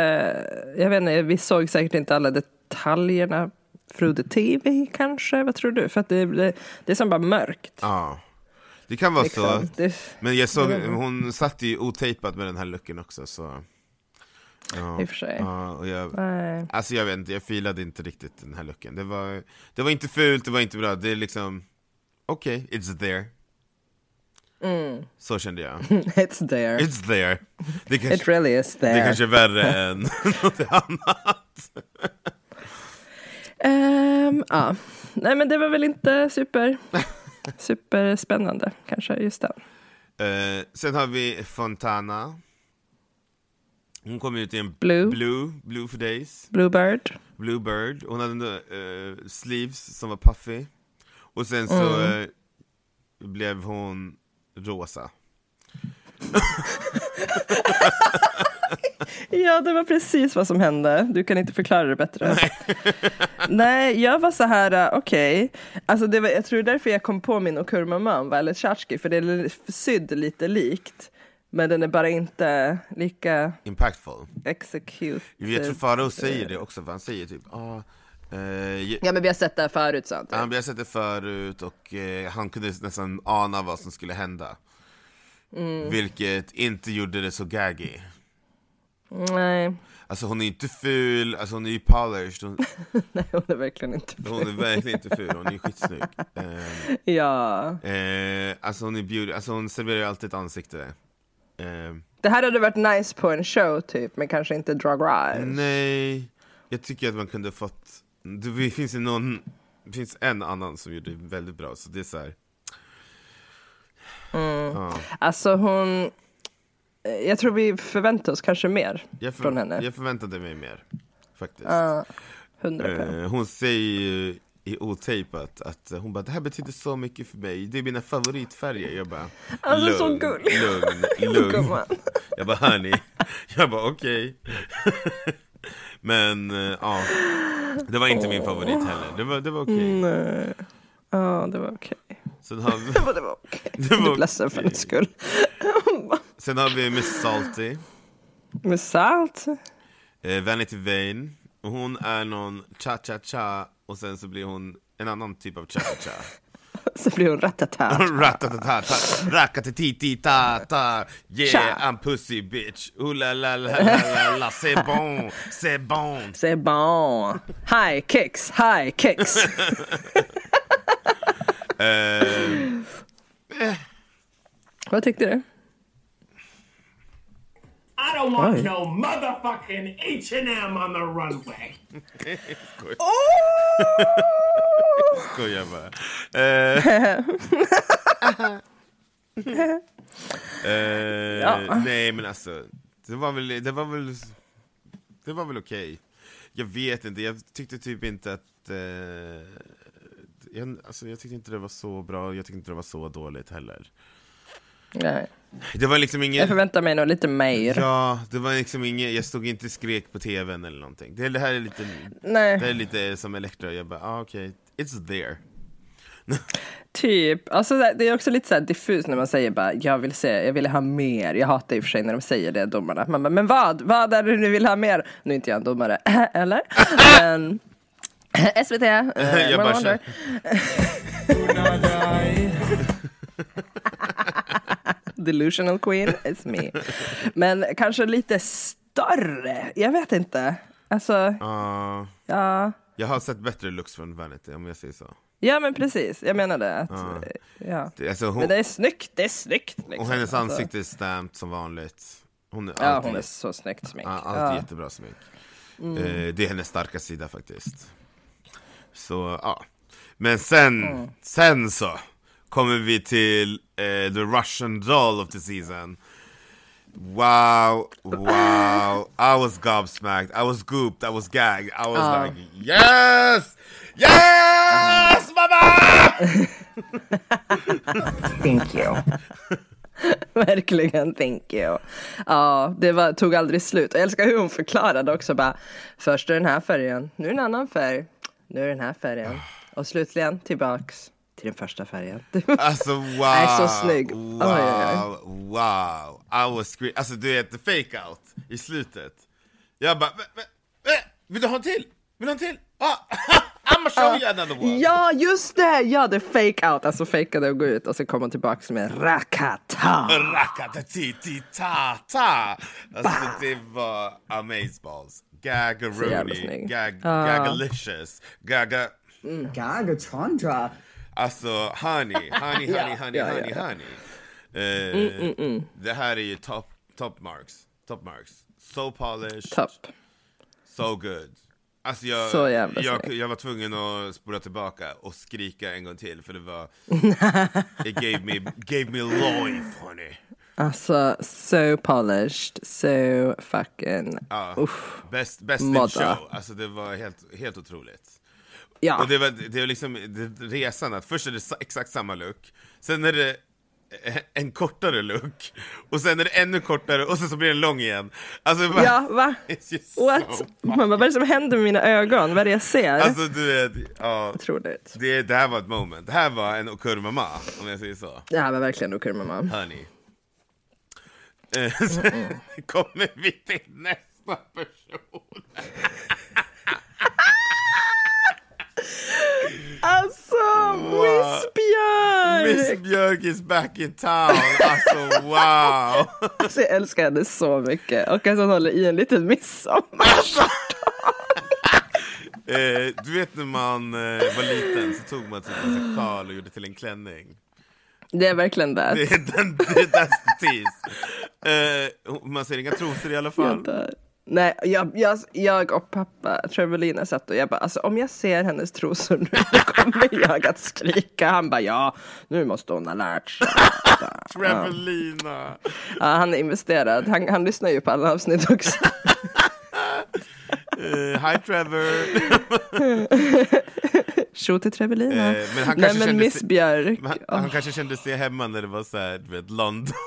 [SPEAKER 1] Jag vet inte, vi såg säkert inte alla detaljerna. Frode TV kanske? Vad tror du? För att det, det, det är som bara mörkt.
[SPEAKER 2] Ja. Det kan vara
[SPEAKER 1] Liksom.
[SPEAKER 2] så.
[SPEAKER 1] Det,
[SPEAKER 2] Men jag såg, hon satt ju otejpad med den här looken också så. Ja.
[SPEAKER 1] I och för sig.
[SPEAKER 2] Ja, och jag,
[SPEAKER 1] Nej.
[SPEAKER 2] Alltså jag vet inte, jag filade inte riktigt den här looken. Det var, det var inte fult, det var inte bra, det är liksom, okej, it's there.
[SPEAKER 1] Mm.
[SPEAKER 2] Så
[SPEAKER 1] [laughs]
[SPEAKER 2] kände jag.
[SPEAKER 1] It's there.
[SPEAKER 2] It's there. Det kanske,
[SPEAKER 1] It really is
[SPEAKER 2] det
[SPEAKER 1] there.
[SPEAKER 2] kanske är värre
[SPEAKER 1] [laughs]
[SPEAKER 2] än något annat.
[SPEAKER 1] Ehm, ja. Nej, men det var väl inte
[SPEAKER 2] [laughs]
[SPEAKER 1] super, superspännande kanske just den.
[SPEAKER 2] Eh, sen har vi Fontana. Hon kom ut i en
[SPEAKER 1] Blue.
[SPEAKER 2] blue, blue for days.
[SPEAKER 1] Bluebird.
[SPEAKER 2] Bluebird, hon hade eh, sleeves som var puffy Och sen så
[SPEAKER 1] Mm.
[SPEAKER 2] eh, blev hon rosa
[SPEAKER 1] Ja, det var precis vad som hände. Du kan inte förklara det bättre. [laughs] Nej, jag var så här, äh, okej. Alltså det var, jag tror därför jag kom på min Okurmamam, Violet Chachki, för det är li- sydd lite likt. Men den är bara inte lika
[SPEAKER 2] Impactful
[SPEAKER 1] execute.
[SPEAKER 2] Jag tror Farao säger det också, för han säger typ ah, eh, jag,
[SPEAKER 1] Ja, men vi har sett det här förut, sa han typ.
[SPEAKER 2] han- Vi har sett det förut och eh, han kunde nästan ana vad som skulle hända Vilket inte gjorde det så gaggy
[SPEAKER 1] Nej, [laughs]
[SPEAKER 2] Alltså hon är inte ful, alltså hon är ju polished Hon,
[SPEAKER 1] nej, hon är verkligen inte
[SPEAKER 2] hon är verkligen inte ful, hon är ju skitsnygg Ehm,
[SPEAKER 1] Ja.
[SPEAKER 2] Eh, alltså hon är beauty, alltså hon serverar ju alltid ett ansikte. Eh,
[SPEAKER 1] Det här hade varit nice på en show typ, men kanske inte Drag Race.
[SPEAKER 2] nej, jag tycker att man kunde fått, det finns ju någon, det finns en annan som gjorde det väldigt bra, så det är så här. Ja,
[SPEAKER 1] Alltså hon... eh, Jag tror vi förväntar oss kanske mer
[SPEAKER 2] jag, för,
[SPEAKER 1] från henne. Ah,
[SPEAKER 2] jag förväntade mig mer, faktiskt.
[SPEAKER 1] 100
[SPEAKER 2] Eh, hon säger ju i otejpat att hon bara, det här betyder så mycket för mig, det är mina favoritfärger. Jag bara,
[SPEAKER 1] Alltså, så
[SPEAKER 2] lugn,
[SPEAKER 1] gullig. [laughs]
[SPEAKER 2] lugn,
[SPEAKER 1] Gumman.
[SPEAKER 2] lugn. Jag bara, hörni. [laughs] Jag bara, okej. [laughs] Men eh, ja, det var inte min favorit heller. Det var, det var okej.
[SPEAKER 1] Nej. Ja, det var okej.
[SPEAKER 2] Sen, har
[SPEAKER 1] [laughs]
[SPEAKER 2] vi,
[SPEAKER 1] Det var- Det var okej.
[SPEAKER 2] var
[SPEAKER 1] Du blev ledsen för
[SPEAKER 2] okej.
[SPEAKER 1] hennes skull. [laughs]
[SPEAKER 2] sen har vi Miss Salty,
[SPEAKER 1] Med salt.
[SPEAKER 2] eh, Vanity Vane. Och Hon är någon cha-cha-cha och sen så blir hon en annan typ av cha-cha-cha.
[SPEAKER 1] Så blir hon
[SPEAKER 2] [laughs]
[SPEAKER 1] ratatata.
[SPEAKER 2] Ratatatata, rakatatititata
[SPEAKER 1] Tja.
[SPEAKER 2] Yeah, I'm pussy bitch Ooh la la la la la la C'est bon, c'est bon
[SPEAKER 1] C'est bon. High kicks, high kicks.
[SPEAKER 2] [laughs] Eh,
[SPEAKER 1] Vad tyckte du?
[SPEAKER 4] I don't want no motherfucking H&M on the runway.
[SPEAKER 2] Skojar bara eh, [laughs] eh, Nej men alltså Det var väl, det var väl Det var väl okej Jag vet inte, jag tyckte typ inte att eh, jag, alltså, jag tyckte inte det var så bra, jag tyckte inte det var så dåligt heller
[SPEAKER 1] Nej.
[SPEAKER 2] Det var liksom
[SPEAKER 1] Jag
[SPEAKER 2] ingen
[SPEAKER 1] förväntar mig nog lite mer.
[SPEAKER 2] Ja, det var liksom inget, jag stod inte och skrek på tvn eller någonting. Det, det här är lite, det här
[SPEAKER 1] Nej.
[SPEAKER 2] är lite som Elektra, jag bara, ah, okej, it's there.
[SPEAKER 1] Typ. Alltså, det är också lite så här diffust när man säger bara jag vill se, jag vill ha mer. Jag hatar i och för sig när de säger det, domarna. Man bara, men vad? Vad är det du vill ha mer? Nu är inte jag en domare, [laughs] eller? men, [laughs] SVT, eh,
[SPEAKER 2] [laughs] Jag
[SPEAKER 1] man
[SPEAKER 2] bara
[SPEAKER 1] undrar. Delusional queen, it's me. Men kanske lite större, jag vet inte. Alltså,
[SPEAKER 2] Ja.
[SPEAKER 1] ja.
[SPEAKER 2] jag har sett bättre looks från Vanity om jag säger så.
[SPEAKER 1] Ja men precis, jag menar det. Att,
[SPEAKER 2] Ja.
[SPEAKER 1] ja.
[SPEAKER 2] Det- Alltså, hon,
[SPEAKER 1] Men det är snyggt, det är snyggt. Liksom.
[SPEAKER 2] och hennes
[SPEAKER 1] Alltså.
[SPEAKER 2] ansikte är stämt som vanligt. Hon är
[SPEAKER 1] Ja,
[SPEAKER 2] alltid,
[SPEAKER 1] hon är så snyggt smink.
[SPEAKER 2] ja, alltid
[SPEAKER 1] Ja.
[SPEAKER 2] jättebra smink. Eh, det är hennes starka sida faktiskt. Så ja. Men sen,
[SPEAKER 1] Mm.
[SPEAKER 2] sen så kommer vi till eh, the Russian doll of the season. Wow, wow. I was gobsmacked, I was gooped, I was gagged. I was
[SPEAKER 1] Ja.
[SPEAKER 2] like yes! Yes mamma!
[SPEAKER 7] Thank you.
[SPEAKER 1] [laughs] Verkligen, thank you. Ja, det var, tog aldrig slut. Jag älskar hur hon förklarade också bara. Först är den här färgen, nu är det en annan färg, nu är det den här färgen. Och slutligen tillbaks till den första färgen. [laughs]
[SPEAKER 2] Alltså wow!
[SPEAKER 1] är så snygg. Oj,
[SPEAKER 2] Wow,
[SPEAKER 1] oj,
[SPEAKER 2] wow! I was screaming. Alltså du vet, the fake out i slutet. Jag bara, "Men, men, men, vill du ha en till? Vill du ha en till? Ah, [laughs] I'mma show you another one!
[SPEAKER 1] ja, just det! Ja, det är fake out. Alltså fejkade och gå ut och så kom hon tillbaks med rakata.
[SPEAKER 2] Rakatatititata! Alltså det var amazeballs.
[SPEAKER 1] Så jävla
[SPEAKER 2] Gagaroni,
[SPEAKER 1] snygg.
[SPEAKER 2] gag,
[SPEAKER 1] Ah.
[SPEAKER 2] gagalicious, gaga...
[SPEAKER 5] Gaga Chandra.
[SPEAKER 2] Alltså
[SPEAKER 1] [laughs]
[SPEAKER 2] honey, honey, honey, honey,
[SPEAKER 1] ja,
[SPEAKER 2] honey,
[SPEAKER 1] ja. Mm,
[SPEAKER 2] honey. Eh, Det här är ju top, top marks, top marks. So polished.
[SPEAKER 1] Topp.
[SPEAKER 2] So good. Alltså jag,
[SPEAKER 1] Så jävla
[SPEAKER 2] jag,
[SPEAKER 1] snygg.
[SPEAKER 2] jag var tvungen att spola tillbaka och skrika en gång till för det
[SPEAKER 1] [laughs]
[SPEAKER 2] var... it gave me, gave me life honey.
[SPEAKER 1] Alltså, so polished, so fucking...
[SPEAKER 2] Ja.
[SPEAKER 1] Uff.
[SPEAKER 2] Best, best in
[SPEAKER 1] Modda.
[SPEAKER 2] show. Alltså det var helt, helt otroligt.
[SPEAKER 1] Ja,
[SPEAKER 2] Och det var, det var liksom det, resan att först är det sa- exakt samma look, sen är det e- en kortare look, och sen är det ännu kortare och sen så blir den lång igen. Alltså, det var-
[SPEAKER 1] ja va?
[SPEAKER 2] [laughs] It's just
[SPEAKER 1] What?
[SPEAKER 2] [laughs] so
[SPEAKER 1] Man bara, vad är det som händer med mina ögon? Vad är det jag ser?
[SPEAKER 2] Alltså du vet, ja.
[SPEAKER 1] Otroligt.
[SPEAKER 2] Det, det här var ett moment. Det här var en okur mamma, om jag säger så.
[SPEAKER 1] Det här var verkligen okur mamma.
[SPEAKER 2] Honey. Eh, [laughs] Sen kommer vi till nästa person.
[SPEAKER 1] Alltså, Miss
[SPEAKER 2] Miss
[SPEAKER 1] Björk!
[SPEAKER 2] Björk is back in town. Alltså wow.
[SPEAKER 1] Alltså, jag älskar henne så mycket. Och att hon håller i en liten midsommar.
[SPEAKER 2] Eh, du vet när man eh, var liten så tog man typ en sån sjal och gjorde till en klänning.
[SPEAKER 1] Det är verkligen det.
[SPEAKER 2] Det är den, det är that's the tease. Eh, man ser inga trosor i alla fall.
[SPEAKER 1] Jag dör. Nej, jag, jag, jag och pappa Trevelina satt och jag bara, alltså om jag ser hennes trosor nu då kommer jag att skrika. Han bara, ja, nu måste hon ha lärt sig.
[SPEAKER 2] Trevelina!
[SPEAKER 1] Ja, han är investerad. Han, han lyssnar ju på alla avsnitt också.
[SPEAKER 2] Eh, hi Trevor!
[SPEAKER 1] Tjo till Trevelina.
[SPEAKER 2] Eh, men han
[SPEAKER 1] Nej
[SPEAKER 2] kanske
[SPEAKER 1] men
[SPEAKER 2] kände
[SPEAKER 1] Miss
[SPEAKER 2] sig-
[SPEAKER 1] Björk.
[SPEAKER 2] Men Han,
[SPEAKER 1] Åh,
[SPEAKER 2] han kanske kände sig hemma när det var så här, du vet, London. [laughs]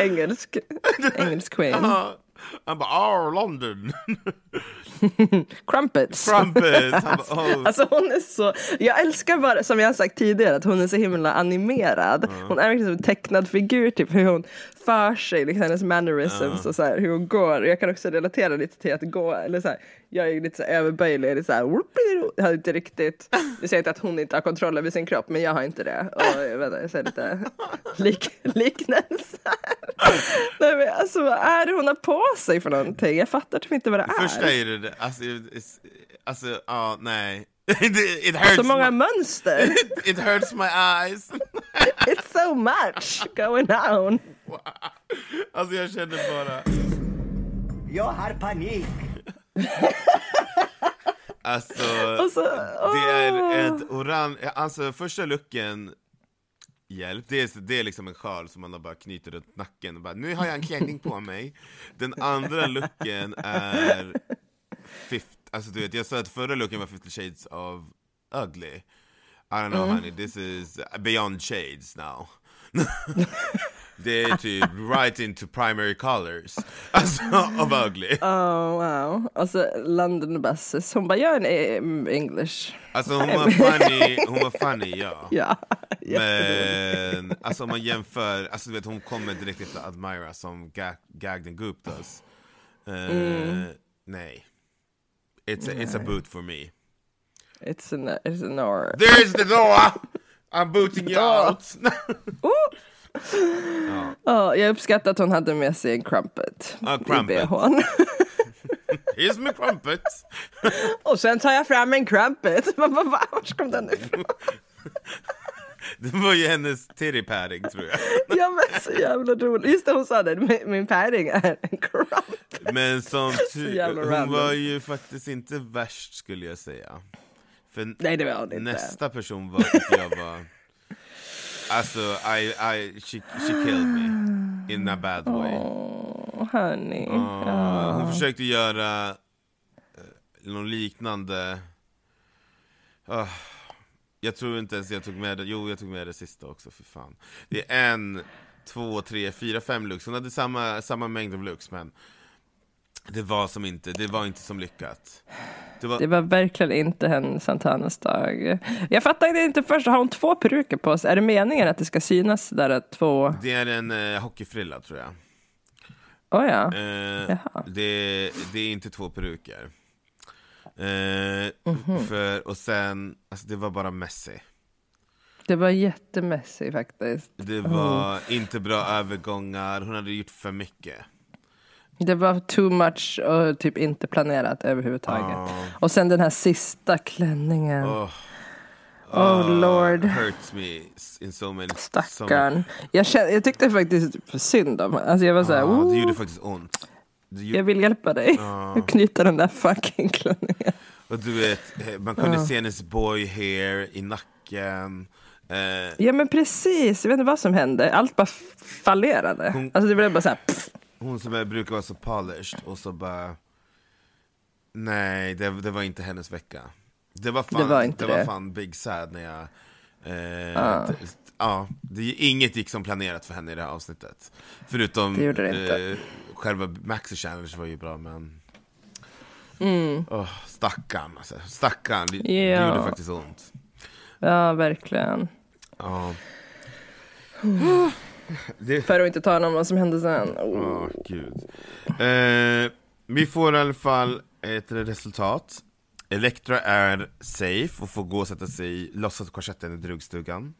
[SPEAKER 1] engelsk,
[SPEAKER 2] [laughs]
[SPEAKER 1] engelsk queen.
[SPEAKER 2] Han bara ah London! [laughs]
[SPEAKER 1] Crumpets.
[SPEAKER 2] Trumpet! Han bara, oh.
[SPEAKER 1] Alltså hon är så, jag älskar bara som jag har sagt tidigare att hon är så himla animerad. Hon är verkligen som en tecknad figur typ hur hon för sig, liksom, hennes mannerisms och så här, hur hon går. Och Jag kan också relatera lite till att gå, eller så här, jag är ju lite så här överböjlig, eller så här, whoop-di-doo. jag har inte riktigt, det säger inte att hon inte har kontroll över sin kropp men jag har inte det. Och jag vet inte, jag säger lite lik, liknelse. Nej men alltså vad är det hon har på sig för någonting? Jag fattar typ inte vad det är.
[SPEAKER 2] Första är det det, alltså, it's- alltså ja, ah, nej. [laughs] it, it hurts
[SPEAKER 1] så Alltså, många
[SPEAKER 2] my, [laughs]
[SPEAKER 1] mönster.
[SPEAKER 2] it, it hurts my eyes.
[SPEAKER 1] It's so much going on.
[SPEAKER 2] Alltså jag känner bara,
[SPEAKER 5] Jag har panik.
[SPEAKER 2] alltså
[SPEAKER 1] Och så, åh.
[SPEAKER 2] det är ett orange, alltså första looken, hjälp, det är, det är liksom en sjal som man har bara knyter runt nacken och bara nu har jag en klänning på mig. Den andra looken är, fift, alltså du vet jag sa att förra looken var 50 shades of ugly.
[SPEAKER 1] Mm.
[SPEAKER 2] I don't know honey, this is beyond shades now. [laughs] Det är typ right into primary colors. Alltså, of ugly.
[SPEAKER 1] Oh, wow. Och så London Buses. Hon bara, gör en eh, em, English.
[SPEAKER 2] Alltså hon var funny, hon var funny ja.
[SPEAKER 1] Ja.
[SPEAKER 2] Men alltså om man jämför, alltså du vet hon kommer direkt efter Admira som gag, gagged and gooped us. Eh,
[SPEAKER 1] Mm.
[SPEAKER 2] Nej. It's a, it's a boot for me.
[SPEAKER 1] It's an, it's an or.
[SPEAKER 2] There's the door! I'm booting you out! [laughs]
[SPEAKER 1] Ja, jag uppskattar att hon hade med sig en crumpet
[SPEAKER 2] Ja,
[SPEAKER 1] i
[SPEAKER 2] crumpet.
[SPEAKER 1] bhn. [laughs]
[SPEAKER 2] Here's my crumpet!
[SPEAKER 1] Och sen tar jag fram en crumpet. [laughs] Man bara, va? Vart kom den ifrån?
[SPEAKER 2] Det var ju hennes titty padding tror jag.
[SPEAKER 1] [laughs] Ja, men så jävla roligt. Just det, hon sa det. Min, min päring är en crumpet.
[SPEAKER 2] Men som tur
[SPEAKER 1] jävla
[SPEAKER 2] hon
[SPEAKER 1] random.
[SPEAKER 2] var ju faktiskt inte värst skulle jag säga. För
[SPEAKER 1] Nej, det var hon inte.
[SPEAKER 2] nästa person var, tycker jag var... Alltså, I, I, she, she killed me. In a bad way.
[SPEAKER 1] Åh, hörni.
[SPEAKER 2] Uh, hon försökte göra uh, någon liknande... Ah, jag tror inte ens jag tog med det. Jo, jag tog med det sista också, för fan. Det är en, två, tre, fyra, fem looks. Hon hade samma, samma mängd av looks, men det var som inte, det var inte som lyckat. Det var,
[SPEAKER 1] Det var verkligen inte en Santanas dag. Jag fattade inte först. Har hon två peruker på sig? Är det meningen att det ska synas där att två...
[SPEAKER 2] det är en uh, hockeyfrilla, tror jag.
[SPEAKER 1] Oh, ja.
[SPEAKER 2] Eh, det, det är inte två peruker. Eh,
[SPEAKER 1] Mhm.
[SPEAKER 2] för, och sen, alltså det var bara messy.
[SPEAKER 1] Det var jättemässigt faktiskt.
[SPEAKER 2] Det var inte bra övergångar, hon hade gjort för mycket.
[SPEAKER 1] Det var too much och typ inte planerat överhuvudtaget. Och sen den här sista klänningen. Oh, lord.
[SPEAKER 2] Hurts me in so many... so many-
[SPEAKER 1] Stackarn. Jag, kände, jag tyckte faktiskt synd om honom. Alltså jag var så här,
[SPEAKER 2] Ja,
[SPEAKER 1] "Ooh,
[SPEAKER 2] Ah, det gjorde faktiskt ont. Det gjorde,
[SPEAKER 1] jag vill hjälpa dig. Och [laughs] knyta den där fucking klänningen.
[SPEAKER 2] och du vet, eh, man kunde se hennes boy hair i nacken. Eh,
[SPEAKER 1] Ja men precis, jag vet inte vad som hände. Allt bara fallerade. Alltså det blev bara så här, pff.
[SPEAKER 2] hon som är- brukar vara så polished och så bara... Nej, det, det var inte hennes vecka. Det var fan,
[SPEAKER 1] Det var inte
[SPEAKER 2] var
[SPEAKER 1] det. Ah.
[SPEAKER 2] fan big sad när jag... Eh, det- Ja, det, inget gick som planerat för henne i det här avsnittet. Förutom
[SPEAKER 1] Det gjorde det inte.
[SPEAKER 2] eh, själva Maxi Challenge var ju bra men... Åh, stackarn alltså, stackarn. Det, det
[SPEAKER 1] Mm. Ja.
[SPEAKER 2] gjorde faktiskt ont.
[SPEAKER 1] Ja verkligen.
[SPEAKER 2] Ja. Det,
[SPEAKER 1] För att inte tala om vad som hände sen. Oh.
[SPEAKER 2] Åh, gud. Eh, vi får i alla fall ett resultat. Elektra är safe och får gå och sätta sig i låtsaskorsetten i drugstugan.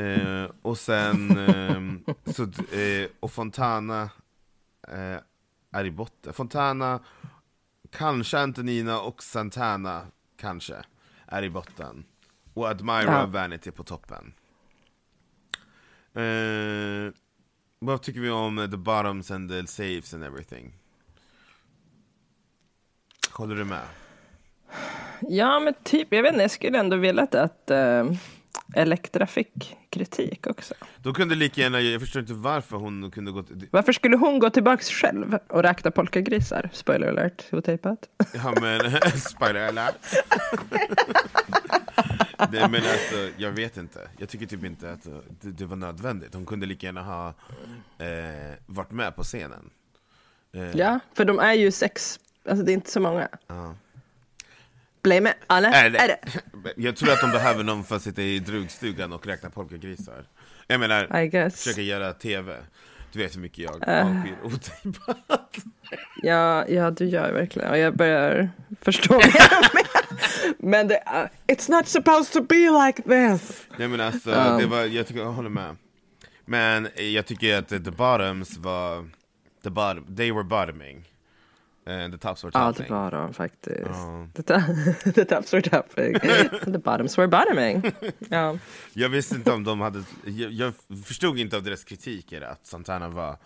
[SPEAKER 2] Eh, och sen, ehm, så, eh, och Fontana eh, är i botten. Fontana, kanske Antonina och Santana, kanske, är i botten. Och Admira
[SPEAKER 1] Ja.
[SPEAKER 2] Vanity på toppen. Eh, vad tycker vi om eh, the bottoms and the saves and everything? Håller du med?
[SPEAKER 1] Ja men typ, jag vet inte, jag skulle ändå velat att eh, Elektra fick kritik också.
[SPEAKER 2] Då kunde lika gärna, jag förstår inte varför hon kunde gå till,
[SPEAKER 1] Varför skulle hon gå tillbaks själv och räkna polkagrisar? Spoiler alert, otejpat.
[SPEAKER 2] ja men, [laughs] spider alert! Nej men alltså, jag vet inte. Jag tycker typ inte att eh, det, det var nödvändigt. Hon kunde lika gärna ha eh, varit med på scenen. Eh,
[SPEAKER 1] Ja, för de är ju sex, alltså det är inte så många. Blame it, alla
[SPEAKER 2] Är
[SPEAKER 1] är
[SPEAKER 2] det?
[SPEAKER 1] det.
[SPEAKER 2] [laughs] Jag tror att de behöver någon för att sitta i drugstugan och räkna polkagrisar. Jag menar,
[SPEAKER 1] I guess. Eh.
[SPEAKER 2] försöka göra TV. Du vet hur mycket jag avskyr otejpat.
[SPEAKER 1] Ja, ja, du gör verkligen. Och jag börjar förstå
[SPEAKER 2] [laughs]
[SPEAKER 1] mer och mer. Men det är, it's not supposed to be like this.
[SPEAKER 2] Nej men alltså, det var, jag, tycker, jag håller med. Men eh, jag tycker att eh, the bottoms var, the bottom, they were bottoming. Eh, the tops were
[SPEAKER 1] Ja, det
[SPEAKER 2] topping.
[SPEAKER 1] var de faktiskt. The, [laughs] to- the tops were topping. [laughs] the bottoms were bottoming. Ja.
[SPEAKER 2] jag visste inte om de hade, jag, jag förstod inte av deras kritiker att Santana var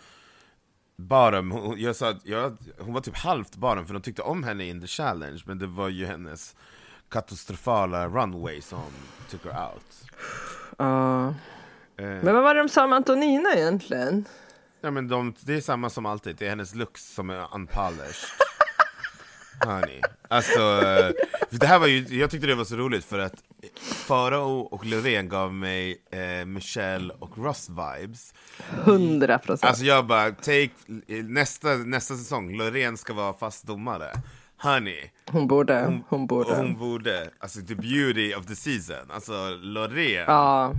[SPEAKER 2] bottom. Hon, jag sa att jag, hon var typ halvt bottom för de tyckte om henne in the challenge, men det var ju hennes katastrofala runway som took her out.
[SPEAKER 1] Ja.
[SPEAKER 2] Eh,
[SPEAKER 1] Men vad var det de sa om Antonina egentligen?
[SPEAKER 2] Ja men de, det är samma som alltid, det är hennes looks som är unpolished Honey, alltså, eh, det här var ju, jag tyckte det var så roligt för att Farao och Loreen gav mig eh, Michelle och Ross-vibes.
[SPEAKER 1] 100 procent.
[SPEAKER 2] Alltså jag bara, take, nästa, nästa säsong, Loreen ska vara fast domare. Honey,
[SPEAKER 1] hon borde. Hon
[SPEAKER 2] och
[SPEAKER 1] borde.
[SPEAKER 2] hon borde, alltså the beauty of the season, alltså Loreen,
[SPEAKER 1] Ja.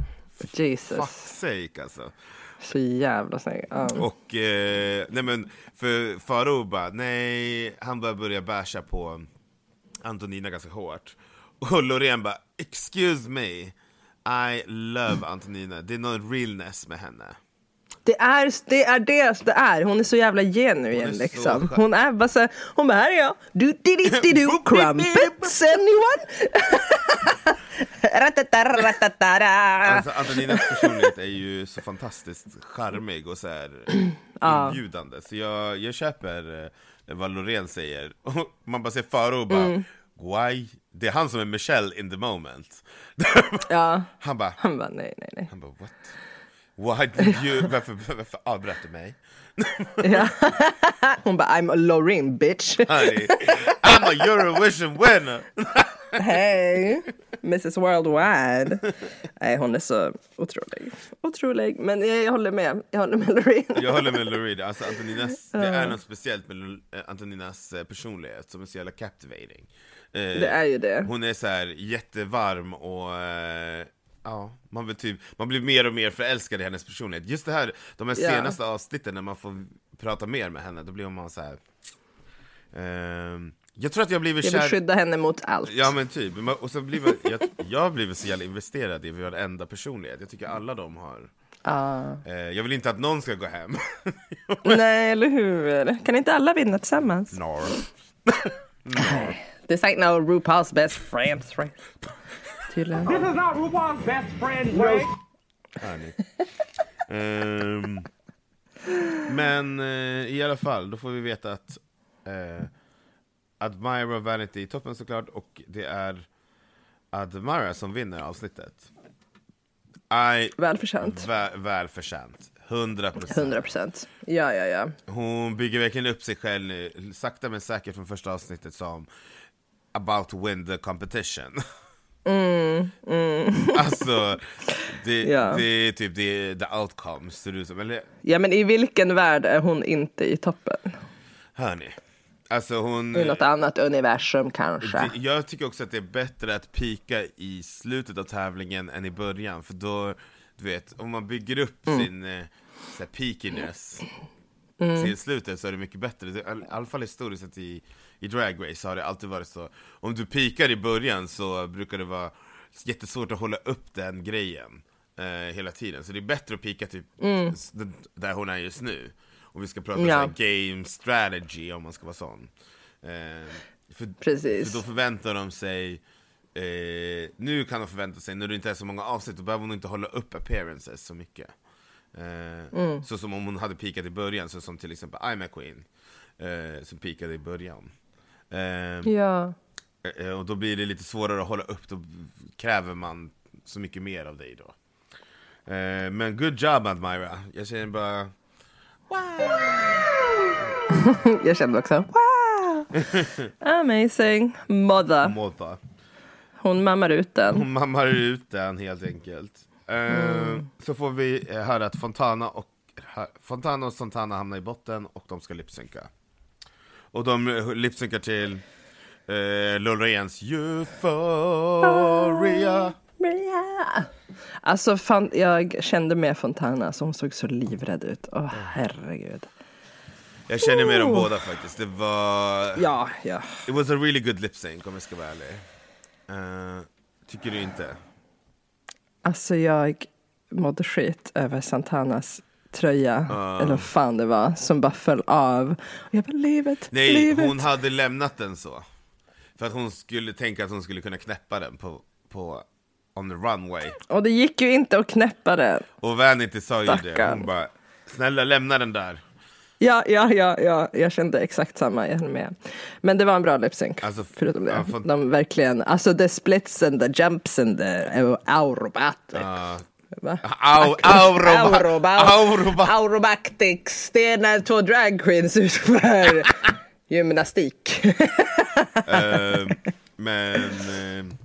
[SPEAKER 1] Jesus.
[SPEAKER 2] fuck's sake alltså.
[SPEAKER 1] Så jävla snygg. Ja.
[SPEAKER 2] Och, eh, nej men, för Farao bara, nej, han börjar börja basha på Antonina ganska hårt. Och Loreen bara, excuse me, I love Antonina, det är någon realness med henne.
[SPEAKER 1] Det är det är det det är. Hon är så jävla genuin
[SPEAKER 2] Hon är så
[SPEAKER 1] liksom.
[SPEAKER 2] skön.
[SPEAKER 1] Hon är bara så här, hon bara här är jag. Du di di di du
[SPEAKER 2] [laughs]
[SPEAKER 1] crumpets anyone? Ratatara, ratatara.
[SPEAKER 2] Alltså, Antoninas personlighet är ju så fantastiskt charmig och så här inbjudande, så jag, jag köper eh, vad Loreen säger. Och Man bara ser Farao och bara, why? Det är han som är Michelle in the moment.
[SPEAKER 1] Ja.
[SPEAKER 2] [laughs] Han bara,
[SPEAKER 1] Han bara nej nej nej.
[SPEAKER 2] Han bara what? Why did you, varför, varför avbröt du mig?
[SPEAKER 1] [laughs] Hon bara I'm a Loreen bitch. [laughs]
[SPEAKER 2] Honey, I'm a Eurovision winner!
[SPEAKER 1] Hey, Mrs Worldwide. Nej, hon är så otrolig. Otrolig. Men jag, jag håller med. Jag håller med Loreen.
[SPEAKER 2] Jag håller med Loreen, alltså Antoninas, det är något speciellt med Lo- eh, Antoninas eh, personlighet som är så jävla captivating. Eh,
[SPEAKER 1] Det är ju det.
[SPEAKER 2] Hon är så här jättevarm och eh, ja, man, vill typ, man blir mer och mer förälskad i hennes personlighet. Just det här, de här
[SPEAKER 1] Ja.
[SPEAKER 2] senaste avsnitten när man får prata mer med henne, då blir man så här. ehm, jag tror att jag blivit
[SPEAKER 1] Jag
[SPEAKER 2] kär...
[SPEAKER 1] vill skydda henne mot allt.
[SPEAKER 2] Ja men typ, Men- och så blir man, jag, jag har blivit så jävla investerad i varenda personlighet, jag tycker alla de har eh, Jag vill inte att någon ska gå hem
[SPEAKER 1] Nej, eller hur? Kan inte alla vinna tillsammans?
[SPEAKER 2] Nar.
[SPEAKER 1] This ain't no RuPaul's best friends right? [laughs] Tydligen.
[SPEAKER 4] This is not RuPaul's best friend, Ray.
[SPEAKER 2] Hörni. Ehm, men eh, i alla fall, då får vi veta att eh, Admira och Vanity är toppen såklart, och det är Admira som vinner avsnittet I,
[SPEAKER 1] Välförtjänt.
[SPEAKER 2] vä- välförtjänt, 100%
[SPEAKER 1] 100 procent. Ja, ja, ja.
[SPEAKER 2] Hon bygger verkligen upp sig själv nu, sakta men säkert från första avsnittet som about to win the competition. [laughs] alltså, det,
[SPEAKER 1] Mm, Ja.
[SPEAKER 2] det är typ det, the outcome ser det ut som. Eller
[SPEAKER 1] Ja, men i vilken värld är hon inte i toppen?
[SPEAKER 2] hör ni? Alltså hon...
[SPEAKER 1] I något annat universum kanske.
[SPEAKER 2] Det, jag tycker också att det är bättre att pika i slutet av tävlingen än i början, för då, du vet, om man bygger upp
[SPEAKER 1] Mm.
[SPEAKER 2] sin eh, så här, peakiness
[SPEAKER 1] Mm.
[SPEAKER 2] till slutet så är det mycket bättre. Det, I all- i alla fall historiskt sett i, i Drag Race har det alltid varit så. Om du pikar i början så brukar det vara jättesvårt att hålla upp den grejen eh, hela tiden. Så det är bättre att pika typ
[SPEAKER 1] Mm.
[SPEAKER 2] s- d- där hon är just nu. Om vi ska prata
[SPEAKER 1] Ja.
[SPEAKER 2] så här game strategy, om man ska vara sån. Eh, för,
[SPEAKER 1] Precis.
[SPEAKER 2] för då förväntar de sig eh, Nu kan de förvänta sig, när det inte är så många avsnitt, då behöver hon inte hålla upp appearances så mycket eh,
[SPEAKER 1] Mm.
[SPEAKER 2] Så som om hon hade pikat i början, så som till exempel I'm a Queen eh, Som pikade i början eh,
[SPEAKER 1] Ja.
[SPEAKER 2] eh, Och då blir det lite svårare att hålla upp, då kräver man så mycket mer av dig då eh, Men good job Admira, jag känner bara
[SPEAKER 1] Jag kände också wow! Amazing mother.
[SPEAKER 2] Måta
[SPEAKER 1] Hon mammar ut den.
[SPEAKER 2] Hon mammar ut den helt enkelt. Eh,
[SPEAKER 1] Mm.
[SPEAKER 2] Så får vi eh, höra att Fontana och, ha- Fontana och Santana hamnar i botten och de ska lipsynka. Och de eh, lipsynkar till eh, Loreens Euphoria.
[SPEAKER 1] Ja. Alltså fan, jag kände med Fontana så hon såg så livrädd ut. Åh herregud.
[SPEAKER 2] Jag känner med dem båda faktiskt. Det var...
[SPEAKER 1] Ja, ja.
[SPEAKER 2] It was a really good lip sync om jag ska vara ärlig. Eh, tycker du inte?
[SPEAKER 1] Alltså jag mådde skit över Santanas tröja,
[SPEAKER 2] Ah.
[SPEAKER 1] eller vad fan det var, som bara föll av. Och jag bara livet,
[SPEAKER 2] Nej,
[SPEAKER 1] livet.
[SPEAKER 2] hon hade lämnat den så. För att hon skulle tänka att hon skulle kunna knäppa den på, på on the runway.
[SPEAKER 1] Och det gick ju inte att knäppa den.
[SPEAKER 2] Och Vanity sa ju det,
[SPEAKER 1] Stackarn.
[SPEAKER 2] hon bara Snälla lämna den där
[SPEAKER 1] Ja, ja, ja, ja, jag kände exakt samma, jag höll med. Men det var en bra lipsync,
[SPEAKER 2] Alltså,
[SPEAKER 1] förutom det.
[SPEAKER 2] ja, fan-
[SPEAKER 1] De verkligen, alltså the splitsen, the jumpsen, the uh, aerobatics. Va?
[SPEAKER 2] Ah, Au, auroba,
[SPEAKER 1] Auroba-
[SPEAKER 2] auroba.
[SPEAKER 1] Aerobatics, det är när två drag queens
[SPEAKER 2] [laughs]
[SPEAKER 1] utför
[SPEAKER 2] Mm.
[SPEAKER 1] gymnastik.
[SPEAKER 2] Eh, Men eh, Ehm,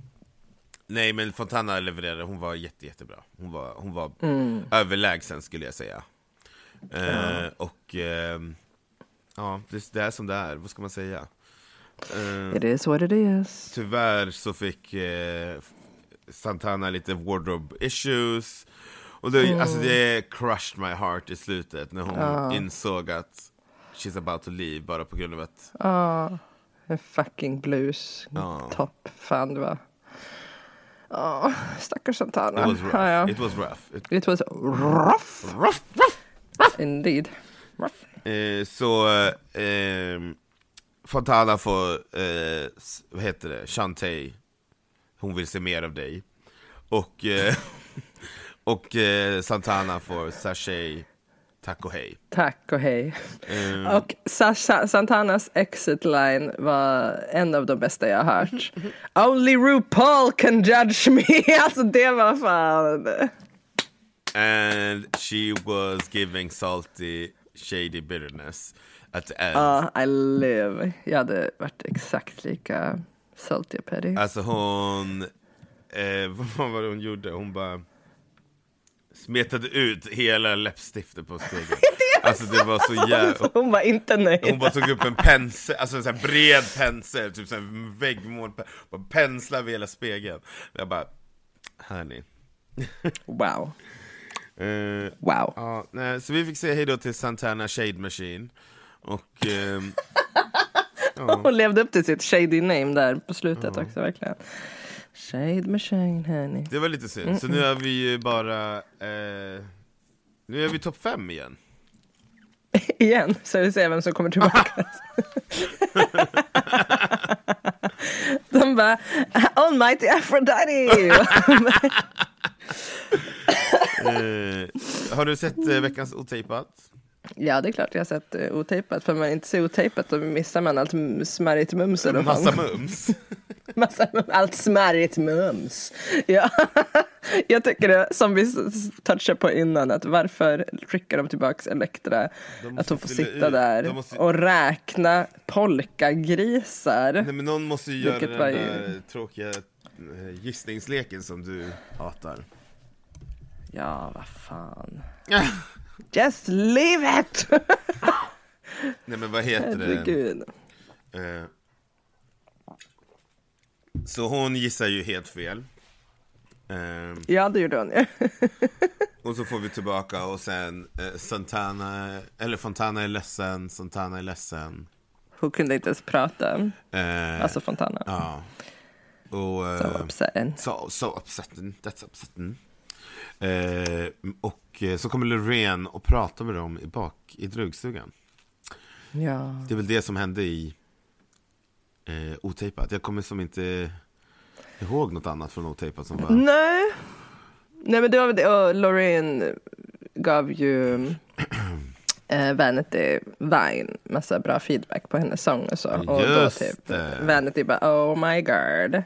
[SPEAKER 2] Nej men Fontana levererade, hon var jätte, jättebra. Hon var, hon var överlägsen skulle jag säga. Eh, Och ehm, ja, det, det är som det är, vad ska man säga? Eh,
[SPEAKER 1] It is what it is.
[SPEAKER 2] Tyvärr så fick eh, Santana lite wardrobe issues. Och det,
[SPEAKER 1] Mm.
[SPEAKER 2] alltså det crushed my heart i slutet när hon insåg att she's about to leave bara på grund av att
[SPEAKER 1] En fucking blues topp. Fan, det var... Ja, stackars Santana.
[SPEAKER 2] it was rough.
[SPEAKER 1] Ja, ja.
[SPEAKER 2] It was rough. It,
[SPEAKER 1] It was rough,
[SPEAKER 2] rough,
[SPEAKER 1] indeed.
[SPEAKER 2] Eh, så eh, Fontana får, eh, s- vad heter det, Shantay, hon vill se mer av dig. Och, eh, [laughs] och eh, Santana får Sashay, tack och hej.
[SPEAKER 1] Tack och hej.
[SPEAKER 2] Eh.
[SPEAKER 1] Och Sasha, Santanas exit line var en av de bästa jag har
[SPEAKER 2] [laughs]
[SPEAKER 1] hört. Only RuPaul can judge me. [laughs] Alltså det var fan.
[SPEAKER 2] And she was giving salty, shady bitterness at the end.
[SPEAKER 1] Ja, I live. Jag hade varit exakt lika salty och petty.
[SPEAKER 2] Alltså hon, eh, [laughs] vad fan var det hon gjorde? Hon bara smetade ut hela läppstiftet på spegeln. alltså [laughs] det var så jävla...
[SPEAKER 1] [laughs] Hon var inte nöjd.
[SPEAKER 2] Hon bara tog upp en pensel, alltså en sån här bred pensel, typ sån här väggmål, bara pensla över hela spegeln. Jag bara, hörni.
[SPEAKER 1] Wow.
[SPEAKER 2] Eh,
[SPEAKER 1] Wow.
[SPEAKER 2] ja, nej, så vi fick säga hejdå till Santana Shade Machine. Och ehm,
[SPEAKER 1] [laughs] Hon levde upp till sitt shady name där på slutet också verkligen. Shade machine honey.
[SPEAKER 2] det var lite synd, så nu är vi ju bara, eh, nu är vi topp fem igen.
[SPEAKER 1] Igen, så vi ser vem som kommer tillbaka. De bara, Almighty Aphrodite!
[SPEAKER 2] Eh, har du sett eh, veckans otejpat?
[SPEAKER 1] ja, det är klart jag har sett eh, otejpat. För om man inte ser otejpat då missar man allt m- smarrigt mums. Eller vad fan.
[SPEAKER 2] Massa mums.
[SPEAKER 1] Massa, allt smarrigt mums. Ja. [laughs] Jag tycker det, som vi s- s- touchade på innan, att varför skickar de tillbaka Elektra?
[SPEAKER 2] måste
[SPEAKER 1] Att hon får
[SPEAKER 2] fylla
[SPEAKER 1] sitta
[SPEAKER 2] ut.
[SPEAKER 1] där
[SPEAKER 2] De måste-
[SPEAKER 1] och räkna polkagrisar.
[SPEAKER 2] Nej men någon måste ju göra
[SPEAKER 1] Vilket
[SPEAKER 2] den
[SPEAKER 1] var
[SPEAKER 2] där
[SPEAKER 1] ju-
[SPEAKER 2] tråkiga eh, gissningsleken som du
[SPEAKER 1] [laughs]
[SPEAKER 2] hatar.
[SPEAKER 1] Ja, vad fan. Just leave it!
[SPEAKER 2] Nej men vad heter det?
[SPEAKER 1] Herregud.
[SPEAKER 2] Eh, Så hon gissar ju helt fel. Eh,
[SPEAKER 1] Ja, det gjorde hon ju. [laughs]
[SPEAKER 2] Och så får vi tillbaka och sen eh, Santana, eller Fontana är ledsen, Santana är ledsen.
[SPEAKER 1] Hon kunde inte ens prata.
[SPEAKER 2] Eh,
[SPEAKER 1] Alltså Fontana.
[SPEAKER 2] Ja. Och,
[SPEAKER 1] Så
[SPEAKER 2] eh,
[SPEAKER 1] upsetting.
[SPEAKER 2] so, so upsetting, that's upsetting. Mm. Eh, och eh, så kommer Loreen och pratar med dem i bak i drugstugan.
[SPEAKER 1] Ja.
[SPEAKER 2] Det är väl det som hände i eh, Otejpat. Jag kommer som inte ihåg något annat från Otejpat som var... [laughs]
[SPEAKER 1] Nej. Nej, men det var väl det. Och Loreen gav ju
[SPEAKER 2] [clears throat]
[SPEAKER 1] eh, Vanity Vine massa bra feedback på hennes sång och så. Och
[SPEAKER 2] Just
[SPEAKER 1] då typ
[SPEAKER 2] det.
[SPEAKER 1] Vanity bara oh my god.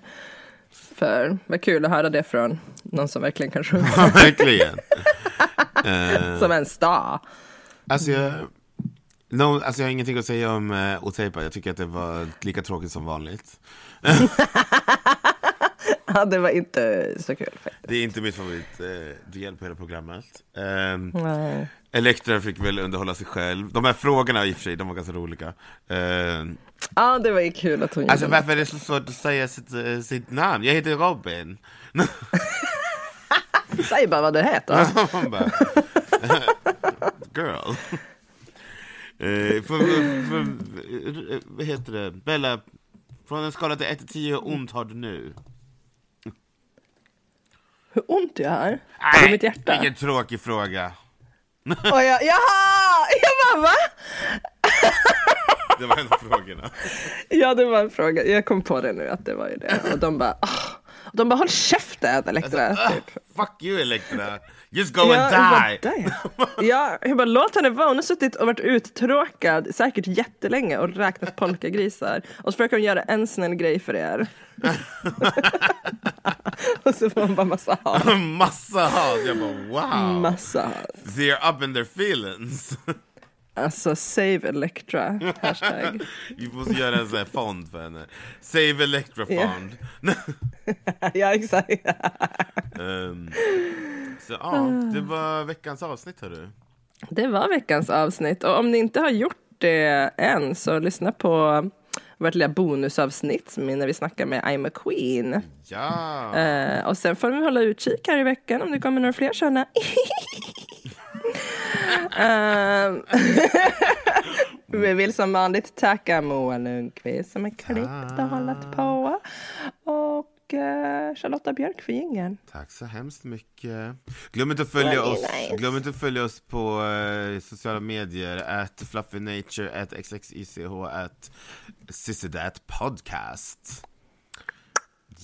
[SPEAKER 1] För vad kul att höra det från någon som verkligen kan
[SPEAKER 2] [laughs]
[SPEAKER 1] sjunga
[SPEAKER 2] Verkligen.
[SPEAKER 1] som en sta.
[SPEAKER 2] Alltså jag... No, alltså jag har ingenting att säga om eh, Otejpat. Jag tycker att det var lika tråkigt som vanligt.
[SPEAKER 1] Ja, det var inte så kul faktiskt.
[SPEAKER 2] Det är inte mitt favoritdel eh, del på hela programmet. Ehm,
[SPEAKER 1] Nej.
[SPEAKER 2] Elektra fick väl underhålla sig själv. De här frågorna i och för sig, de var ganska roliga. Ehm,
[SPEAKER 1] Ja, det var ju kul att hon
[SPEAKER 2] alltså
[SPEAKER 1] gjorde
[SPEAKER 2] varför är det så svårt att säga sitt, eh, sitt namn? Jag heter Robin. [laughs]
[SPEAKER 1] det. Säg bara vad du heter.
[SPEAKER 2] Man bara, [laughs] girl. [laughs] Eh, för, för, för, eh, vad heter det? Bella, från en skala till 1 till 10, hur ont har du nu? [laughs]
[SPEAKER 1] Hur ont jag har? Äh, I mitt hjärta?
[SPEAKER 2] Vilken tråkig fråga.
[SPEAKER 1] Och jag, jaha! Jag bara, va?
[SPEAKER 2] Det var en av
[SPEAKER 1] [laughs]
[SPEAKER 2] frågorna.
[SPEAKER 1] Ja, det var en fråga. Jag kom på det nu att det var ju det. Och de bara, ah. Och de bara håll käften Elektra.
[SPEAKER 2] Ah,
[SPEAKER 1] typ.
[SPEAKER 2] fuck you Elektra. Just go
[SPEAKER 1] Ja,
[SPEAKER 2] and
[SPEAKER 1] jag bara,
[SPEAKER 2] die.
[SPEAKER 1] "Damn." ja, jag bara låt henne vara. Hon har suttit och varit uttråkad säkert jättelänge och räknat polkagrisar. Och så försöker hon göra en snäll grej för er. [laughs] och så får hon bara massa hat.
[SPEAKER 2] [laughs] Massa hat. Jag bara wow.
[SPEAKER 1] Massa hat.
[SPEAKER 2] They're up in their feelings. [laughs]
[SPEAKER 1] Alltså save Electra, hashtag.
[SPEAKER 2] Vi måste göra en sån här fond för henne. Save Electra
[SPEAKER 1] Ja.
[SPEAKER 2] Fond. [laughs]
[SPEAKER 1] ja exakt.
[SPEAKER 2] Ehm, så ja, det var veckans avsnitt hörru.
[SPEAKER 1] Det var veckans avsnitt och om ni inte har gjort det än så lyssna på vårt lilla bonusavsnitt när vi snackar med I'm a Queen.
[SPEAKER 2] Ja!
[SPEAKER 1] Eh, och sen får vi hålla utkik här i veckan om det kommer några fler [laughs] sådana. Ehm, [laughs] vi vill som vanligt tacka Moa Lundqvist som har klippt och hållit på. Och eh, Charlotta Björk för jingeln.
[SPEAKER 2] Tack så hemskt mycket. Glöm inte att följa oss, glöm inte att följa oss på eh, sociala medier. At fluffynature, at xxych, at sissydat podcast.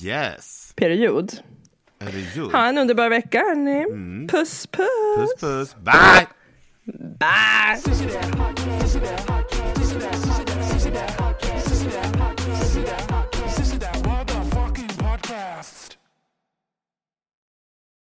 [SPEAKER 2] Yes!
[SPEAKER 1] Period.
[SPEAKER 2] Är det gjort?
[SPEAKER 1] Ha en underbar vecka hörni. Mm. Puss puss.
[SPEAKER 2] Puss puss, bye!
[SPEAKER 1] Bye.
[SPEAKER 3] Sissy that podcast. Sissy